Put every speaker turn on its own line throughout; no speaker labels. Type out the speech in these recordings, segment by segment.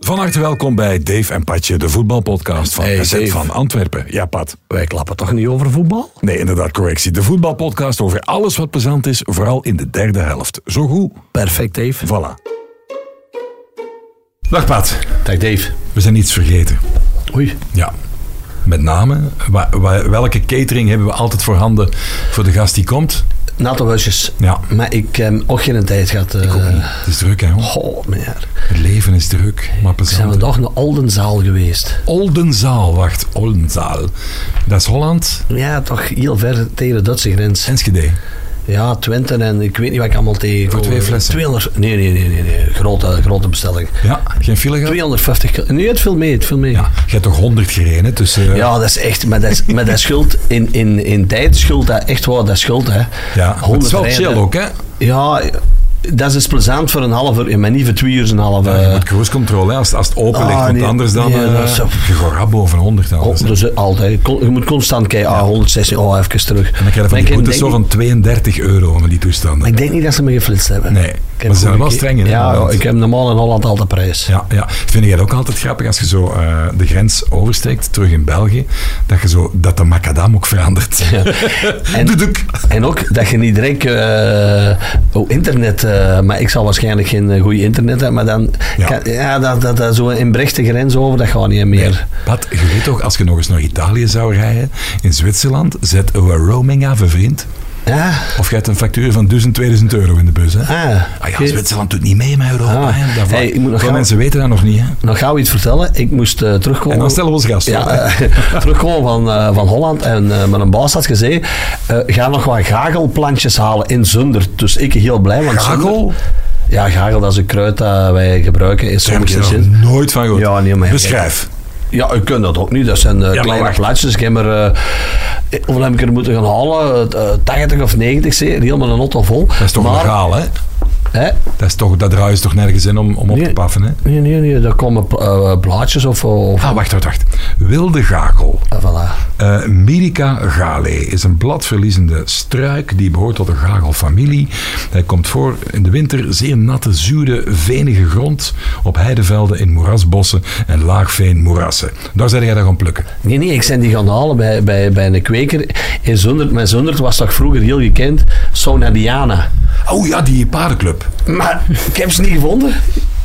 Van harte welkom bij Dave en Patje, de voetbalpodcast van
Hey,
AZ
Dave.
van Antwerpen. Ja, Pat.
Wij klappen toch niet over voetbal?
Nee, inderdaad, correctie. De voetbalpodcast over alles wat plezant is, vooral in de derde helft. Zo goed.
Perfect, Dave.
Voilà. Dag Pat.
Dag, Dave.
We zijn iets vergeten.
Oei.
Ja. Met name, wa- wa- welke catering hebben we altijd voorhanden voor de gast die komt?
NATO-huisjes.
Ja.
Maar ik heb ook geen tijd gehad. eh
Het is druk, hè? hoor.
Goh, meneer.
Het leven is druk, maar plezant.
Zijn we
hè.
toch naar Oldenzaal geweest?
Oldenzaal, wacht, Oldenzaal. Dat is Holland,
Ja, toch heel ver tegen de Duitse grens.
Enschede.
Ja, Twente en ik weet niet wat ik allemaal tegen.
Voor twee flessen?
200, nee, nee, nee, nee, nee. Grote, grote bestelling.
Ja, geen file gehad?
250 kilo. Nee, het viel mee, het viel mee.
Ja, je hebt toch 100 gereden tussen... eh,
Ja, dat is echt, maar dat, is, maar dat schuld in, in, in tijd, schuld dat echt waar, dat schuld hè.
ja. maar Het is wel
100
chill
rijden.
ook, hè?
Ja, dat is dus plezant voor een half uur, maar niet voor twee uur en een half eh, uur.
Ja, je moet cruise control, hè, als, als het open
ah,
ligt, want
nee.
anders dan...
Nee,
eh,
dat is zo-
Je gaat rap boven 100
Oh,
anders. hè.
dus eh, altijd. Con- Je moet constant kijken. Ah, 116. Oh, even terug.
En dan krijg je van
Maar
die
ik
boetes
denk
zo
niet-
van 32 euro van die toestanden.
maar Ik denk niet dat ze me geflitst hebben.
Nee,
Ik heb
maar ze zijn wel
gewoon gekeken.
streng in
Ja,
Holland.
ja, ik heb normaal in Holland altijd prijs.
Ja, ja, vind jij het ook altijd grappig als je zo eh, de grens oversteekt, terug in België, dat, je zo, dat de macadam ook verandert.
En-
Doedoek.
En ook dat je niet direct... eh, oh, internet. eh, maar ik zal waarschijnlijk geen eh, goede internet hebben. Maar dan...
Ja.
Ja, ja dat, dat, dat zo een brechte grens over, dat gaat niet meer.
Pat, je weet toch, als je nog eens naar Italië zou rijden, in Zwitserland, zet we roaming af, hè, vriend.
Ja?
Of je hebt een factuur van 1000, 2000 euro in de bus, hè.
Ah.
Ah ja,
Oké.
Zwitserland doet niet mee met Europa.
Ah.
hè, op dat vlak.
Hey, ik moet nog
Veel
gaan-
mensen weten dat nog niet, hè.
Nog gauw iets vertellen. Ik moest eh, terugkomen...
En dan stellen we ons gast voor.
Ja, eh, terugkomen van, eh, van Holland en eh, mijn baas had gezegd, eh, ga nog wat gagelplantjes halen in Zunder. Dus ik heel blij, want Zunder-
Gagel?
Ja, gagel, dat is een kruid dat wij gebruiken in
Daar heb
sommige
ik er
zin.
nog nooit van gehoord.
Ja, nee, maar-
Beschrijf.
Ja, ik ken dat ook niet. Dat zijn eh,
maar
kleine
wacht.
plantjes. Ik heb er, eh, hoeveel heb ik er moeten gaan halen? Eh, eh, 80 of 90, zeer. Helemaal een auto vol.
Dat is toch
maar,
legaal, hè?
Hè?
Dat, is toch, dat draait toch nergens in om, om op te
Nee.
paffen, hè?
Nee, nee, nee. Daar komen eh, blaadjes of... of
Ah, wacht, wacht, wacht. Wilde gakel.
eh, voilà.
Eh Mirica galae is een bladverliezende struik die behoort tot de gagelfamilie. Hij komt voor in de winter zeer natte, zure, venige grond op heidevelden in moerasbossen en laagveenmoerassen. Daar zijn jij dan gaan plukken.
Nee, nee, ik zijn die gaan halen bij, bij, bij een kweker in Zundert. Maar Zundert was toch vroeger heel gekend, Sonadiana.
Oh ja, die paardenclub.
Maar ik heb ze niet gevonden.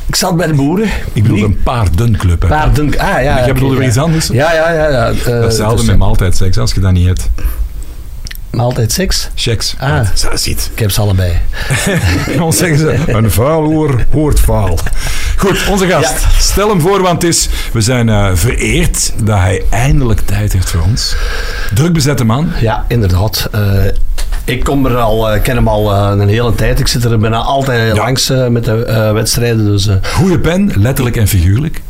Ik zat bij de boeren.
Ik bedoel
Niet-
een paardenclub. Hè.
Paarden... Ah, ja.
Jij
oké,
bedoelde weer
ja.
iets anders?
Ja, ja, ja. ja. eh,
Datzelfde
dus,
met maaltijdseks, als je dat niet hebt.
maar altijd seks.
Checks.
Ah.
Dat ziet.
Ik heb ze allebei.
Ons zeggen ze, een vuil oor hoort vuil. Goed, onze gast. Stel hem voor, want het is, we zijn eh, vereerd dat hij eindelijk tijd heeft voor ons. Druk bezette man.
Ja, inderdaad. Eh, ik kom er al, eh, ken hem al eh, een hele tijd. Ik zit er bijna altijd
Ja.
langs eh, met de eh, wedstrijden. Dus eh,
Goeie pen, letterlijk en figuurlijk.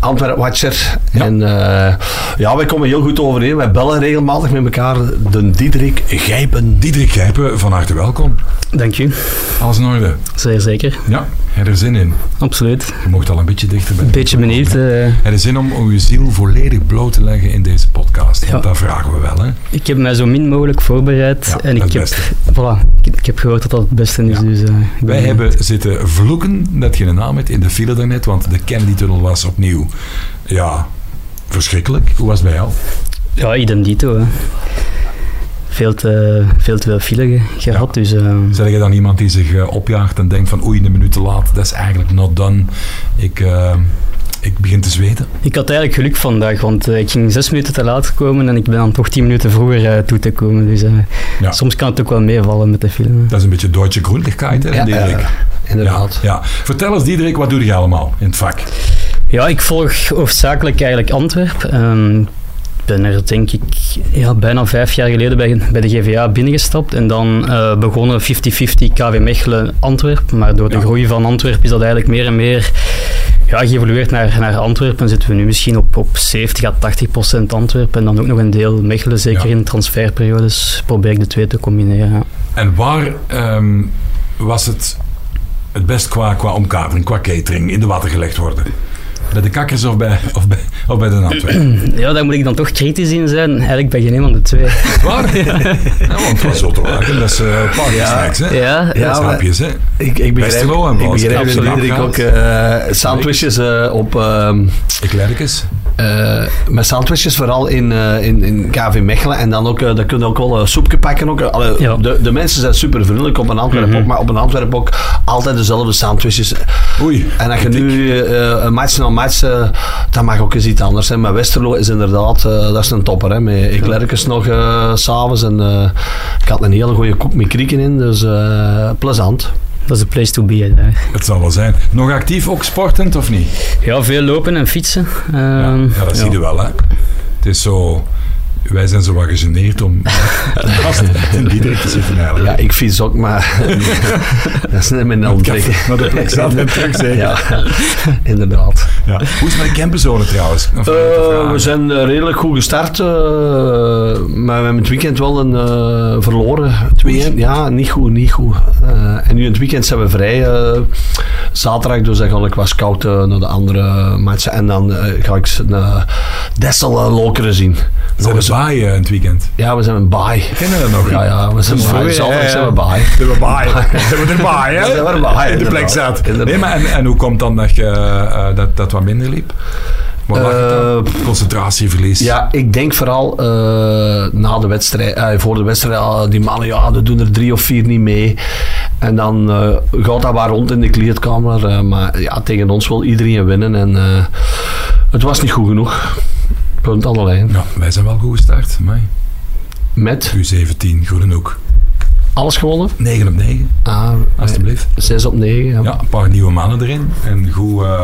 Antwerp Watcher.
Ja.
En eh, ja, wij komen heel goed overeen. Wij bellen regelmatig met elkaar. De Diederik Gijpen.
Diederik Gijpen, van harte welkom.
Dank u,
Alles in orde.
zeer zeker.
Ja, heb je er zin in?
Absoluut.
Je mocht al een beetje dichter bij.
Een beetje benieuwd. eh.
Heb je zin om uw ziel volledig bloot te leggen in deze podcast? Want
Ja.
dat vragen we wel, hè?
ik heb mij zo min mogelijk voorbereid.
Ja,
en
dat
ik heb,
beste.
voilà, ik, ik heb gehoord dat dat het beste is.
Ja.
Dus, eh, ik ben-
Mhm.
Wij hebben zitten vloeken dat je een naam hebt in de file daarnet, want de Kennedy-tunnel was opnieuw, ja, verschrikkelijk. Hoe was het bij jou?
Ja, idem dito. Hè. Veel, te, veel te veel file ge- gehad. Dus, eh,
Zeg je dan iemand die zich eh, opjaagt en denkt van oei, een minuut te laat, dat is eigenlijk not done. Ik, eh, ik begin te zweten.
ik had eigenlijk geluk vandaag, want eh, ik ging zes minuten te laat komen en ik ben dan toch tien minuten vroeger eh, toe te komen. Dus eh,
Ja.
soms kan het ook wel meevallen met de file.
Dat is een beetje Duitse groenlichkeit, hè,
Ja,
Diederik?
eh,
ja,
inderdaad.
ja. Vertel eens, Diederik, wat doe je allemaal in het vak?
Ja, ik volg hoofdzakelijk eigenlijk Antwerp. Ehm, Ik ben er denk ik ja, bijna vijf jaar geleden bij, bij de GVA binnengestapt. En dan eh, begonnen 50-50 KW Mechelen Antwerp. Maar door de
Ja.
groei van Antwerp is dat eigenlijk meer en meer ja, geëvolueerd naar, naar Antwerpen. En zitten we nu misschien op, op 70 à 80 procent Antwerpen. En dan ook nog een deel Mechelen, zeker
Ja.
in transferperiodes. Probeer ik de twee te combineren. ja.
En waar ehm, was het het best qua, qua omkadering, qua catering in de water gelegd worden? Bij de kakkers of bij, of bij, of bij de Antwerpen?
Ja, daar moet ik dan toch kritisch in zijn. Eigenlijk ben je een van de twee.
Waar? Ja, want het was Otterwagen, dat is uh, Parkstraks, hè?
Ja,
Ja, maar-
Snap je, hè?
Ik, ik begrijp,
Westerlo en
ik
Bas.
begrijp
Absoluut.
inderdaad dat ik ook eh, sandwiches eh, op... ehm,
Ik Lerkens.
eh, met sandwiches vooral in, eh, in, in KV Mechelen. En dan ook, eh dan kun je ook wel een soepje pakken. Ook, eh, allee,
Ja.
de, de mensen zijn super vriendelijk op een Antwerp ook, maar op een Antwerp ook altijd dezelfde sandwiches.
Oei.
En als je nu eh een match na match, eh, dat mag ook eens iets anders zijn. Maar Westerlo is inderdaad, eh, dat is een topper. Hè. Met Eklerkens nog eh, s s'avonds en eh, ik had een hele goede kop met krieken in, dus eh, plezant.
dat is de place to be. hè, daar.
Het zal wel zijn. Nog actief, ook sportend of niet?
Ja, veel lopen en fietsen.
Ja,
Ehm,
ja dat zie je wel, hè? Het is zo... Wij zijn zo wat gegeneerd om vast in die direct te zitten eigenlijk.
Ja, ik fiets ook, maar dat is niet mijn ontbreken.
Naar de plek zelf en terug, zeker?
Ja, inderdaad.
Ja. Hoe is het met de camperzonen trouwens? Om vanuit te
Eh,
vragen.
we zijn eh, redelijk goed gestart, eh, maar we hebben het weekend wel een eh, verloren. 2-1. Ja, niet goed, niet goed. Eh, en nu in het weekend zijn we vrij. eh, zaterdag, dus dan ga ik wat scouten eh, naar de andere matchen. En dan eh, ga ik ze, eh, Dessel eh, Lokeren zien.
Zijn
Nog
er
eens-
baaien in het weekend?
ja, we zijn een baai.
Kennen we dat nog?
Ja, ja, we zijn
Dat is
baai.
voor-
Zaterdag
ja,
zijn
ja.
we baai.
Zijn we baaien? Zijn we er baaien?
Ja, zijn we er baaien,
In de plek
inderdaad.
zat.
Inderdaad.
Nee, maar en, en hoe komt dan dat je eh, dat, dat wat minder liep? Wat lag het
Eh,
dan? Concentratieverlies.
Ja, ik denk vooral eh, na de wedstrijd, eh, voor de wedstrijd, ah, die mannen, ja, die doen er drie of vier niet mee. En dan eh, gaat dat waar rond in de kleedkamer. eh, maar ja, tegen ons wil iedereen winnen. En eh, het was niet goed genoeg. Punt aan de lijn.
Ja, wij zijn wel goed gestart. Amai.
Met
U17, Groenenhoek.
alles gewonnen.
9 op 9,
Ah,
alstublieft.
6 op 9. Ja.
Ja, een paar nieuwe mannen erin. En goed, eh,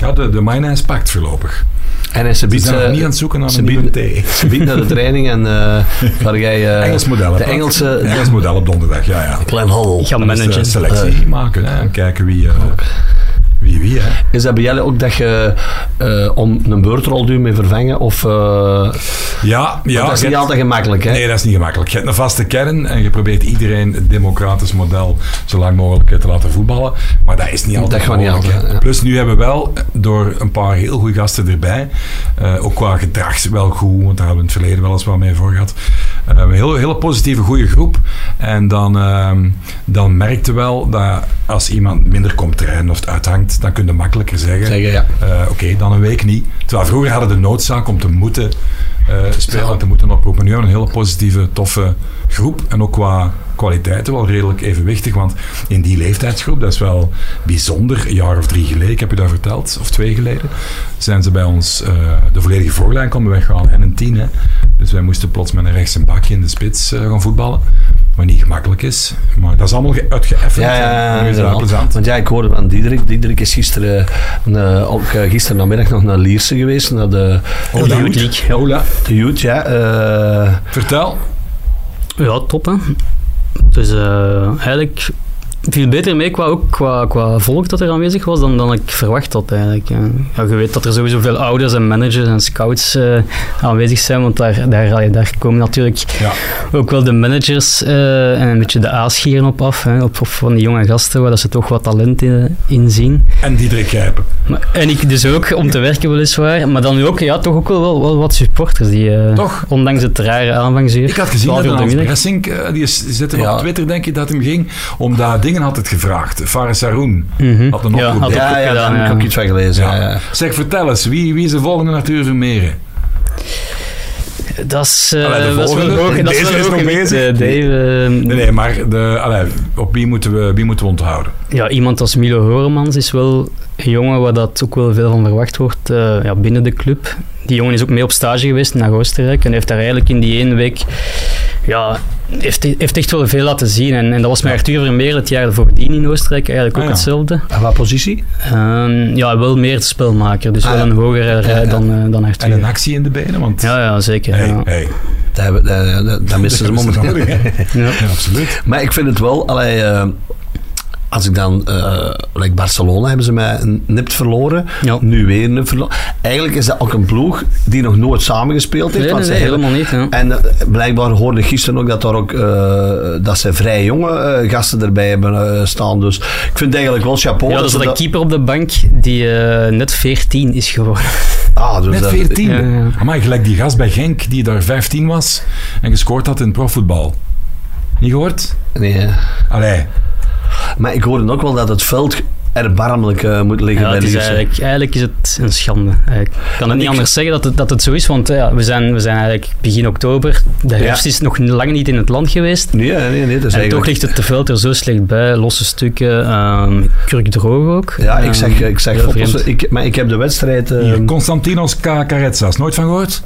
ja, de, de Mayonnaise pakt voorlopig.
En ze
Ze
biedt,
zijn nog
eh,
niet aan het zoeken naar
ze
een nieuwe
bieden-
thee.
ze biedt naar de training. En eh waar jij... eh,
Engels model. hè,
De
Pat?
Engelse...
Engels model op donderdag, ja, ja.
Klein hoddel.
ik ga
Dan is de
managen.
Eh.
selectie maken hè, en kijken wie eh, wie, wie hè.
Is dat bij jullie ook dat je eh, om een beurtrol duw mee vervangen? Of, eh,
Ja, ja.
dat is
je hebt-
niet altijd gemakkelijk, hè?
Nee, dat is niet gemakkelijk. Je hebt een vaste kern en je probeert iedereen het democratisch model zo lang mogelijk eh, te laten voetballen. Maar dat is niet
Dat
altijd
gaat niet
mogelijk, hè.
altijd, ja.
Plus nu hebben we wel, eh, door een paar heel goede gasten erbij, eh, ook qua gedrag wel goed, want daar hebben we in het verleden wel eens wel mee voor gehad, eh, een hele, hele positieve, goede groep. En dan, ehm dan merkte wel dat als iemand minder komt trainen of het uithangt, dan kun je makkelijker zeggen...
Zeggen, ja.
Eh, Oké, dan een week niet. Terwijl vroeger hadden we de noodzaak om te moeten eh, spelen
Ja.
en te moeten oproepen. Nu hebben we een hele positieve, toffe groep. En ook qua kwaliteiten wel redelijk evenwichtig. Want in die leeftijdsgroep, dat is wel bijzonder. Een jaar of drie geleden, ik heb je dat verteld, of twee geleden, zijn ze bij ons eh, de volledige voorlijn komen weggaan. En een tien, hè. Dus wij moesten plots met een rechts en bakje in de spits eh, gaan voetballen. Wat niet gemakkelijk is. Maar dat is allemaal ge- uitgeëffend.
Ja, ja,
En
ja,
nu is dat
inderdaad.
plezant.
Want ja, ik hoorde van Diederik. Diederik is gisteren, eh, ook eh, gisteren namiddag nog naar Lierse geweest, naar de,
Oh,
Ja,
de
goed.
Youth. Ola,
de youth, ja. eh,
Vertel.
Ja, top hè. Dus eh, eigenlijk viel beter mee qua, ook qua, qua volk dat er aanwezig was dan, dan ik verwacht had eigenlijk. Ja. Ja, je weet dat er sowieso veel ouders en managers en scouts eh, aanwezig zijn, want daar, daar, allee, daar komen natuurlijk
Ja.
ook wel de managers eh, en een beetje de aasgieren op af, hè, op, op van die jonge gasten waar dat ze toch wat talent in, in zien.
En Diederik Grijpen.
Maar, en ik dus ook, om te werken weliswaar, maar dan nu ook, ja, toch ook wel, wel, wel wat supporters die, eh,
Toch?
ondanks het rare aanvangsuur,
Ik had gezien dat
twaalf uur
Hans
de middag.
Bressink, eh, die is- die zette
Ja.
op Twitter, denk ik, dat hem ging. Omdat dingen had het gevraagd. Fares Haroun
Mhm.
had een
Ja,
oproep.
had ook
ja, ja,
gedaan,
daar heb ik
ja.
ook iets van gelezen. Ja.
Ja.
ja.
Zeg, vertel eens, wie, wie is de volgende Natuur Vermeeren?
Dat is, eh,
Allee, de
dat is wel
volgende.
hoog. Dat
Deze
is wel
is
hoog
nog
gewicht,
bezig.
eh, Dave, eh,
Nee, nee, maar de, allee, op wie moeten, we, wie moeten we onthouden?
Ja, iemand als Milo Horemans is wel een jongen waar dat ook wel veel van verwacht wordt eh, ja, binnen de club. Die jongen is ook mee op stage geweest naar Oostenrijk en heeft daar eigenlijk in die één week... Ja, heeft, heeft echt wel veel laten zien. En, en dat was met Arthur Vermeer het jaar voordien in Oostenrijk eigenlijk
Ah,
ook
ja.
hetzelfde.
En wat positie?
Ehm, ja, wel meer spelmaker, dus
Ah,
wel
ja.
een hogere rij
Ja, ja.
dan, eh, dan Arthur.
En een actie in de benen, want...
ja, ja, zeker.
Hey,
ja.
hey.
Dat, hebben- dat, dat, dat missen ze
Dat is
momenteel.
nodig, hè?
Ja.
Ja, absoluut.
Maar ik vind het wel, allee, eh, als ik dan, eh like Barcelona hebben ze mij nipt verloren,
Ja.
nu weer nipt verloren. Eigenlijk is dat ook een ploeg die nog nooit samengespeeld heeft.
Nee,
want
nee,
ze
nee,
hebben-
helemaal niet. Ja.
en eh, blijkbaar hoorde ik gisteren ook dat, daar ook, eh, dat ze vrij jonge eh, gasten erbij hebben eh, staan. Dus ik vind het eigenlijk wel chapeau.
Ja, er
ze
zat een keeper op de bank die eh, net 14 is geworden.
Ah, dus
Net
dat-
14.
Ja, ja.
Maar gelijk die gast bij Genk die daar 15 was en gescoord had in profvoetbal. Niet gehoord?
Nee, hè.
Allee.
maar ik hoorde ook wel dat het veld erbarmelijk eh, moet liggen
Ja,
bij
het is
Lierse.
eigenlijk, eigenlijk is het een schande. Ik kan het niet
ik-
anders zeggen dat het, dat het zo is, want eh, ja, we, zijn, we zijn eigenlijk begin oktober. De herfst is nog lang niet in het land geweest.
Nee, eh, nee, nee, dat is
En toch
eigenlijk...
ligt het veld er zo slecht bij. Losse stukken, ehm kurkdroog ook.
Ja, ik zeg,
Ehm,
ik zeg
heel
foto's,
vreemd.
ik, maar ik heb de wedstrijd... eh,
Hier, Constantinos Karetsas. Nooit van gehoord?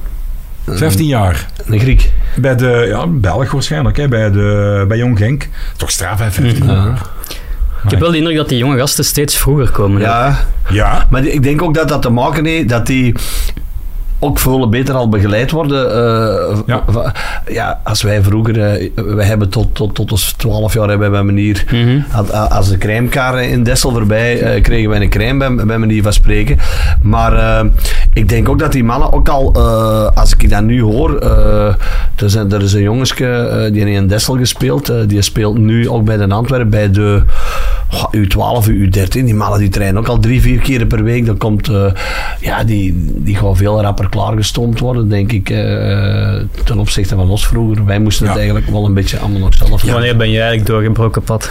15 jaar.
een Griek.
Bij de, ja, Belg waarschijnlijk, hè? Bij, de, bij Jong Genk. Toch straf, hè, 15
Ja.
jaar.
Ik heb wel de indruk dat die jonge gasten steeds vroeger komen.
Ja,
Ja.
maar die- ik denk ook dat dat te maken heeft dat die ook veel beter al begeleid worden. eh, v-
Ja.
v- ja, als wij vroeger, eh, we hebben tot, tot, tot ons 12 jaar hebben wij meneer
Mhm.
Had- a- Als de crèmekar in Dessel voorbij, eh, kregen wij een crème bij, bij manier van spreken. Maar eh, ik denk ook dat die mannen ook al, eh, als ik dat nu hoor, eh, er, zijn, er is een jongenske eh, die heeft in Dessel gespeeld, eh, die speelt nu ook bij de Antwerpen, bij de goh, U12, U13. Die mannen die trainen ook al drie, vier keren per week. Dan komt, eh, ja, die, die gaan veel rapper klaargestoomd worden, denk ik, eh, ten opzichte van ons vroeger. Wij moesten het
Ja.
eigenlijk wel een beetje allemaal nog zelf doen.
Wanneer ben je eigenlijk doorgebroken pad?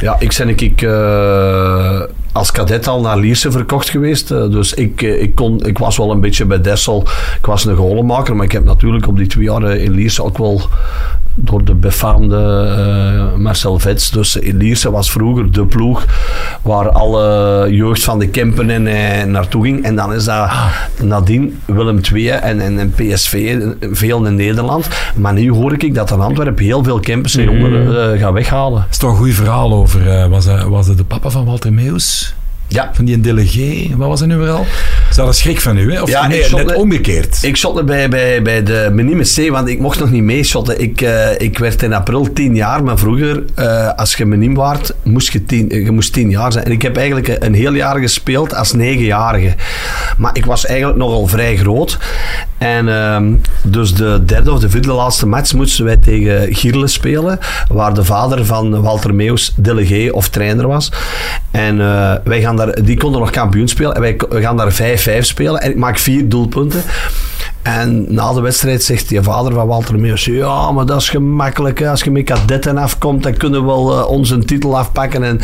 Ja, ik ben ik, eh, als kadet al naar Lierse verkocht geweest. eh, dus ik, eh, ik, kon, ik was wel een beetje bij Dessel. Ik was een golenmaker, maar ik heb natuurlijk op die twee jaar eh, in Lierse ook wel door de befaamde eh, Marcel Vets. Dus in Lierse was vroeger de ploeg waar alle jeugd van de Kempen en, eh, naartoe ging. En dan is dat nadien Willem II en, en, en PSV, eh, veel in Nederland. Maar nu hoor ik dat in Antwerpen heel veel Kempers en jongeren eh, gaan weghalen.
Dat is toch een goed verhaal over. eh, was, dat, was dat de papa van Walter Meus?
Ja,
Van die delegé? Wat was dat nu weer al? Is dat een schrik van u, hè? Of
Ja, ik
nee,
zat
net
net-
omgekeerd.
Ik shotte bij, bij, bij de Minimus C, want ik mocht nog niet meeshotten. Ik, eh, ik werd in april 10 jaar, maar vroeger, eh, als je minim waard, moest je, tien, eh, je moest 10 jaar zijn. En ik heb eigenlijk een, een heel jaar gespeeld als 9-jarige. Maar ik was eigenlijk nogal vrij groot. En ehm, dus de derde of de vierde laatste match moesten wij tegen Gierle spelen, waar de vader van Walter Meus delegé of trainer was. En eh, wij gaan daar, die konden nog kampioen spelen. En wij ko- we gaan daar 5-5 spelen. En ik maak vier doelpunten. En na de wedstrijd zegt je vader van Walter Meers, ja, maar dat is gemakkelijk. hè. Als je met kadetten afkomt, dan kunnen we wel eh, ons een titel afpakken. En,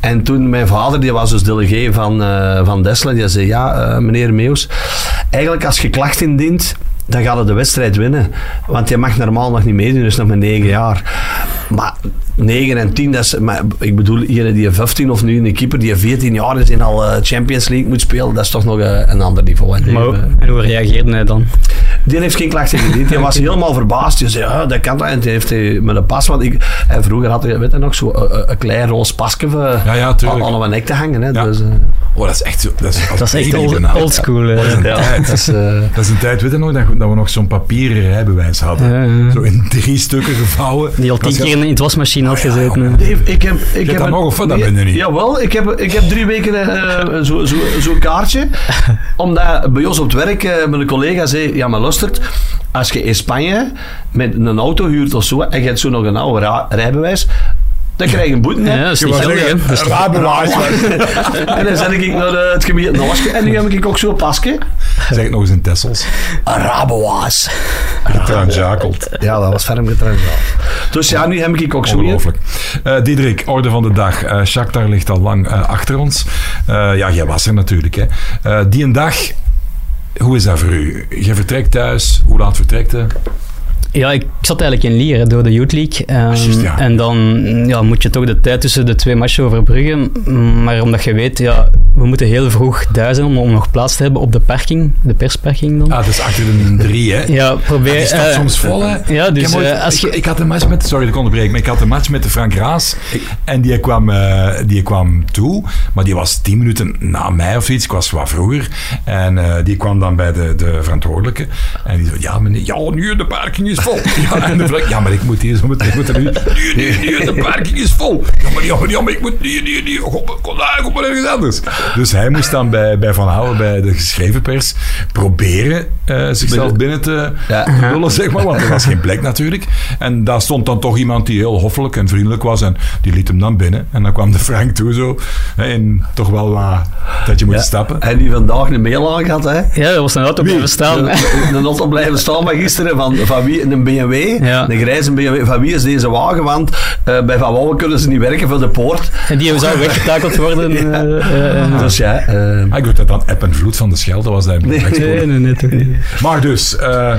en toen mijn vader, die was dus delegé van, eh van Desselen, die zei, ja, eh, meneer Meus, eigenlijk als je klacht indient, dan gaat het de wedstrijd winnen. Want je mag normaal nog niet meedoen, dus nog maar negen jaar. Maar 9 en 10, dat is, maar ik bedoel, hier die 15 of nu een keeper die 14 jaar is en al eh, Champions League moet spelen, dat is toch nog eh, een ander niveau. hè.
Maar, hoe- en hoe reageerde hij dan?
Die heeft geen klachten gediend. Die was helemaal verbaasd. Die zei, ja, dat kan dat. En die heeft hij met een pas. Want ik, en vroeger had hij, weet je nog, zo eh, eh, een klein roze pasje eh,
Ja, ja,
aan
tuurlijk.
aan mijn nek te hangen. Hè.
Ja.
Dus, eh,
Oh, dat is echt zo. Dat is,
Dat is echt
heel
old,
genaamd.
old school. eh.
ja, dat is, eh,
Dat is een tijd, weet je nog, dat, dat we nog zo'n papieren rijbewijs hadden.
Ja, ja.
Zo in drie stukken gevouwen.
Die al
Dat
tien
is
keer in, in het wasmachine had gezeten. hè.
Dave, ik heb... Ik heb
dat
een-
nog of dat
nee,
ben je niet?
Jawel, ik heb, ik heb drie weken eh, zo- zo- zo'n kaartje. Omdat bij ons op het werk eh, mijn collega zei, ja maar luistert, als je in Spanje met een auto huurt of zo, en je hebt zo nog een oude ra- rijbewijs, dan krijg je een boete. hè.
Ja, dat is
Je
niet
wou
geldig,
zeggen,
hè. Dat is toch-
en dan zet ik naar eh, het gebied Noorske en nu heb ik ook zo'n pasje.
Zeg het nog eens in Tessels.
Araboa's.
Getraanjakeld.
Ja, dat was ferm getrouwd. Dus ja, nu heb ik ook zo'n.
Ongelooflijk. Eh Diederik, orde van de dag. Eh Shakhtar ligt al lang eh, achter ons. Eh, ja, jij was er natuurlijk. Hè. Eh, die een dag, hoe is dat voor u? Je vertrekt thuis. Hoe laat vertrekt je?
Ja, ik ik zat eigenlijk in Lier hè, door de Youth League. Ehm,
juist, ja.
En dan ja, moet je toch de tijd tussen de twee matchen overbruggen. Mm, Maar omdat je weet, ja, we moeten heel vroeg daar zijn om, om nog plaats te hebben op de parking, de persparking dan.
Ah, dat is achter de drie, hè?
Ja, probeer...
Die staat
eh,
soms vol, hè?
Ja,
ik,
dus
heb ooit-
eh, als
ik-
je...
ik had een match met... Sorry dat ik onderbreek, maar ik had een match met de Frank Raas. En die kwam, eh, die kwam toe, maar die was tien minuten na mij of iets. Ik was wat vroeger. En eh, die kwam dan bij de, de verantwoordelijke. En die zei, ja meneer, ja nu de parking is vol. Ja, en de Frank, ja maar ik moet hier zo meteen... Ik moet er nu, nu, nu, nu, de parking is vol. Ja maar, ja, maar, ja, maar ik moet nu, nu, nu. Kom, kom daar, kom maar ergens anders. Dus hij moest dan bij, bij Van Houwen, bij de geschreven pers, proberen eh, zichzelf binnen te,
Ja.
te lullen, zeg maar, want er was geen plek natuurlijk. En daar stond dan toch iemand die heel hoffelijk en vriendelijk was en die liet hem dan binnen. En dan kwam de Frank toe zo, hè, en toch wel wat dat je moet stappen.
En die vandaag een mail aan had, hè?
Ja, dat was een auto blijven staan.
Een een auto blijven staan, maar gisteren van, van wie, een BMW,
Ja.
een grijze BMW, van wie is deze wagen? Want eh, bij Van Wallen kunnen ze niet werken voor de poort.
En die zou weggetakeld worden.
Ja.
eh, eh, eh.
Dus ja, eh,
Ah, ik dacht dat dan App en Vloed van de Schelde was daar.
Nee.
eh, Nee, nee, nee, toch niet.
Maar dus, eh,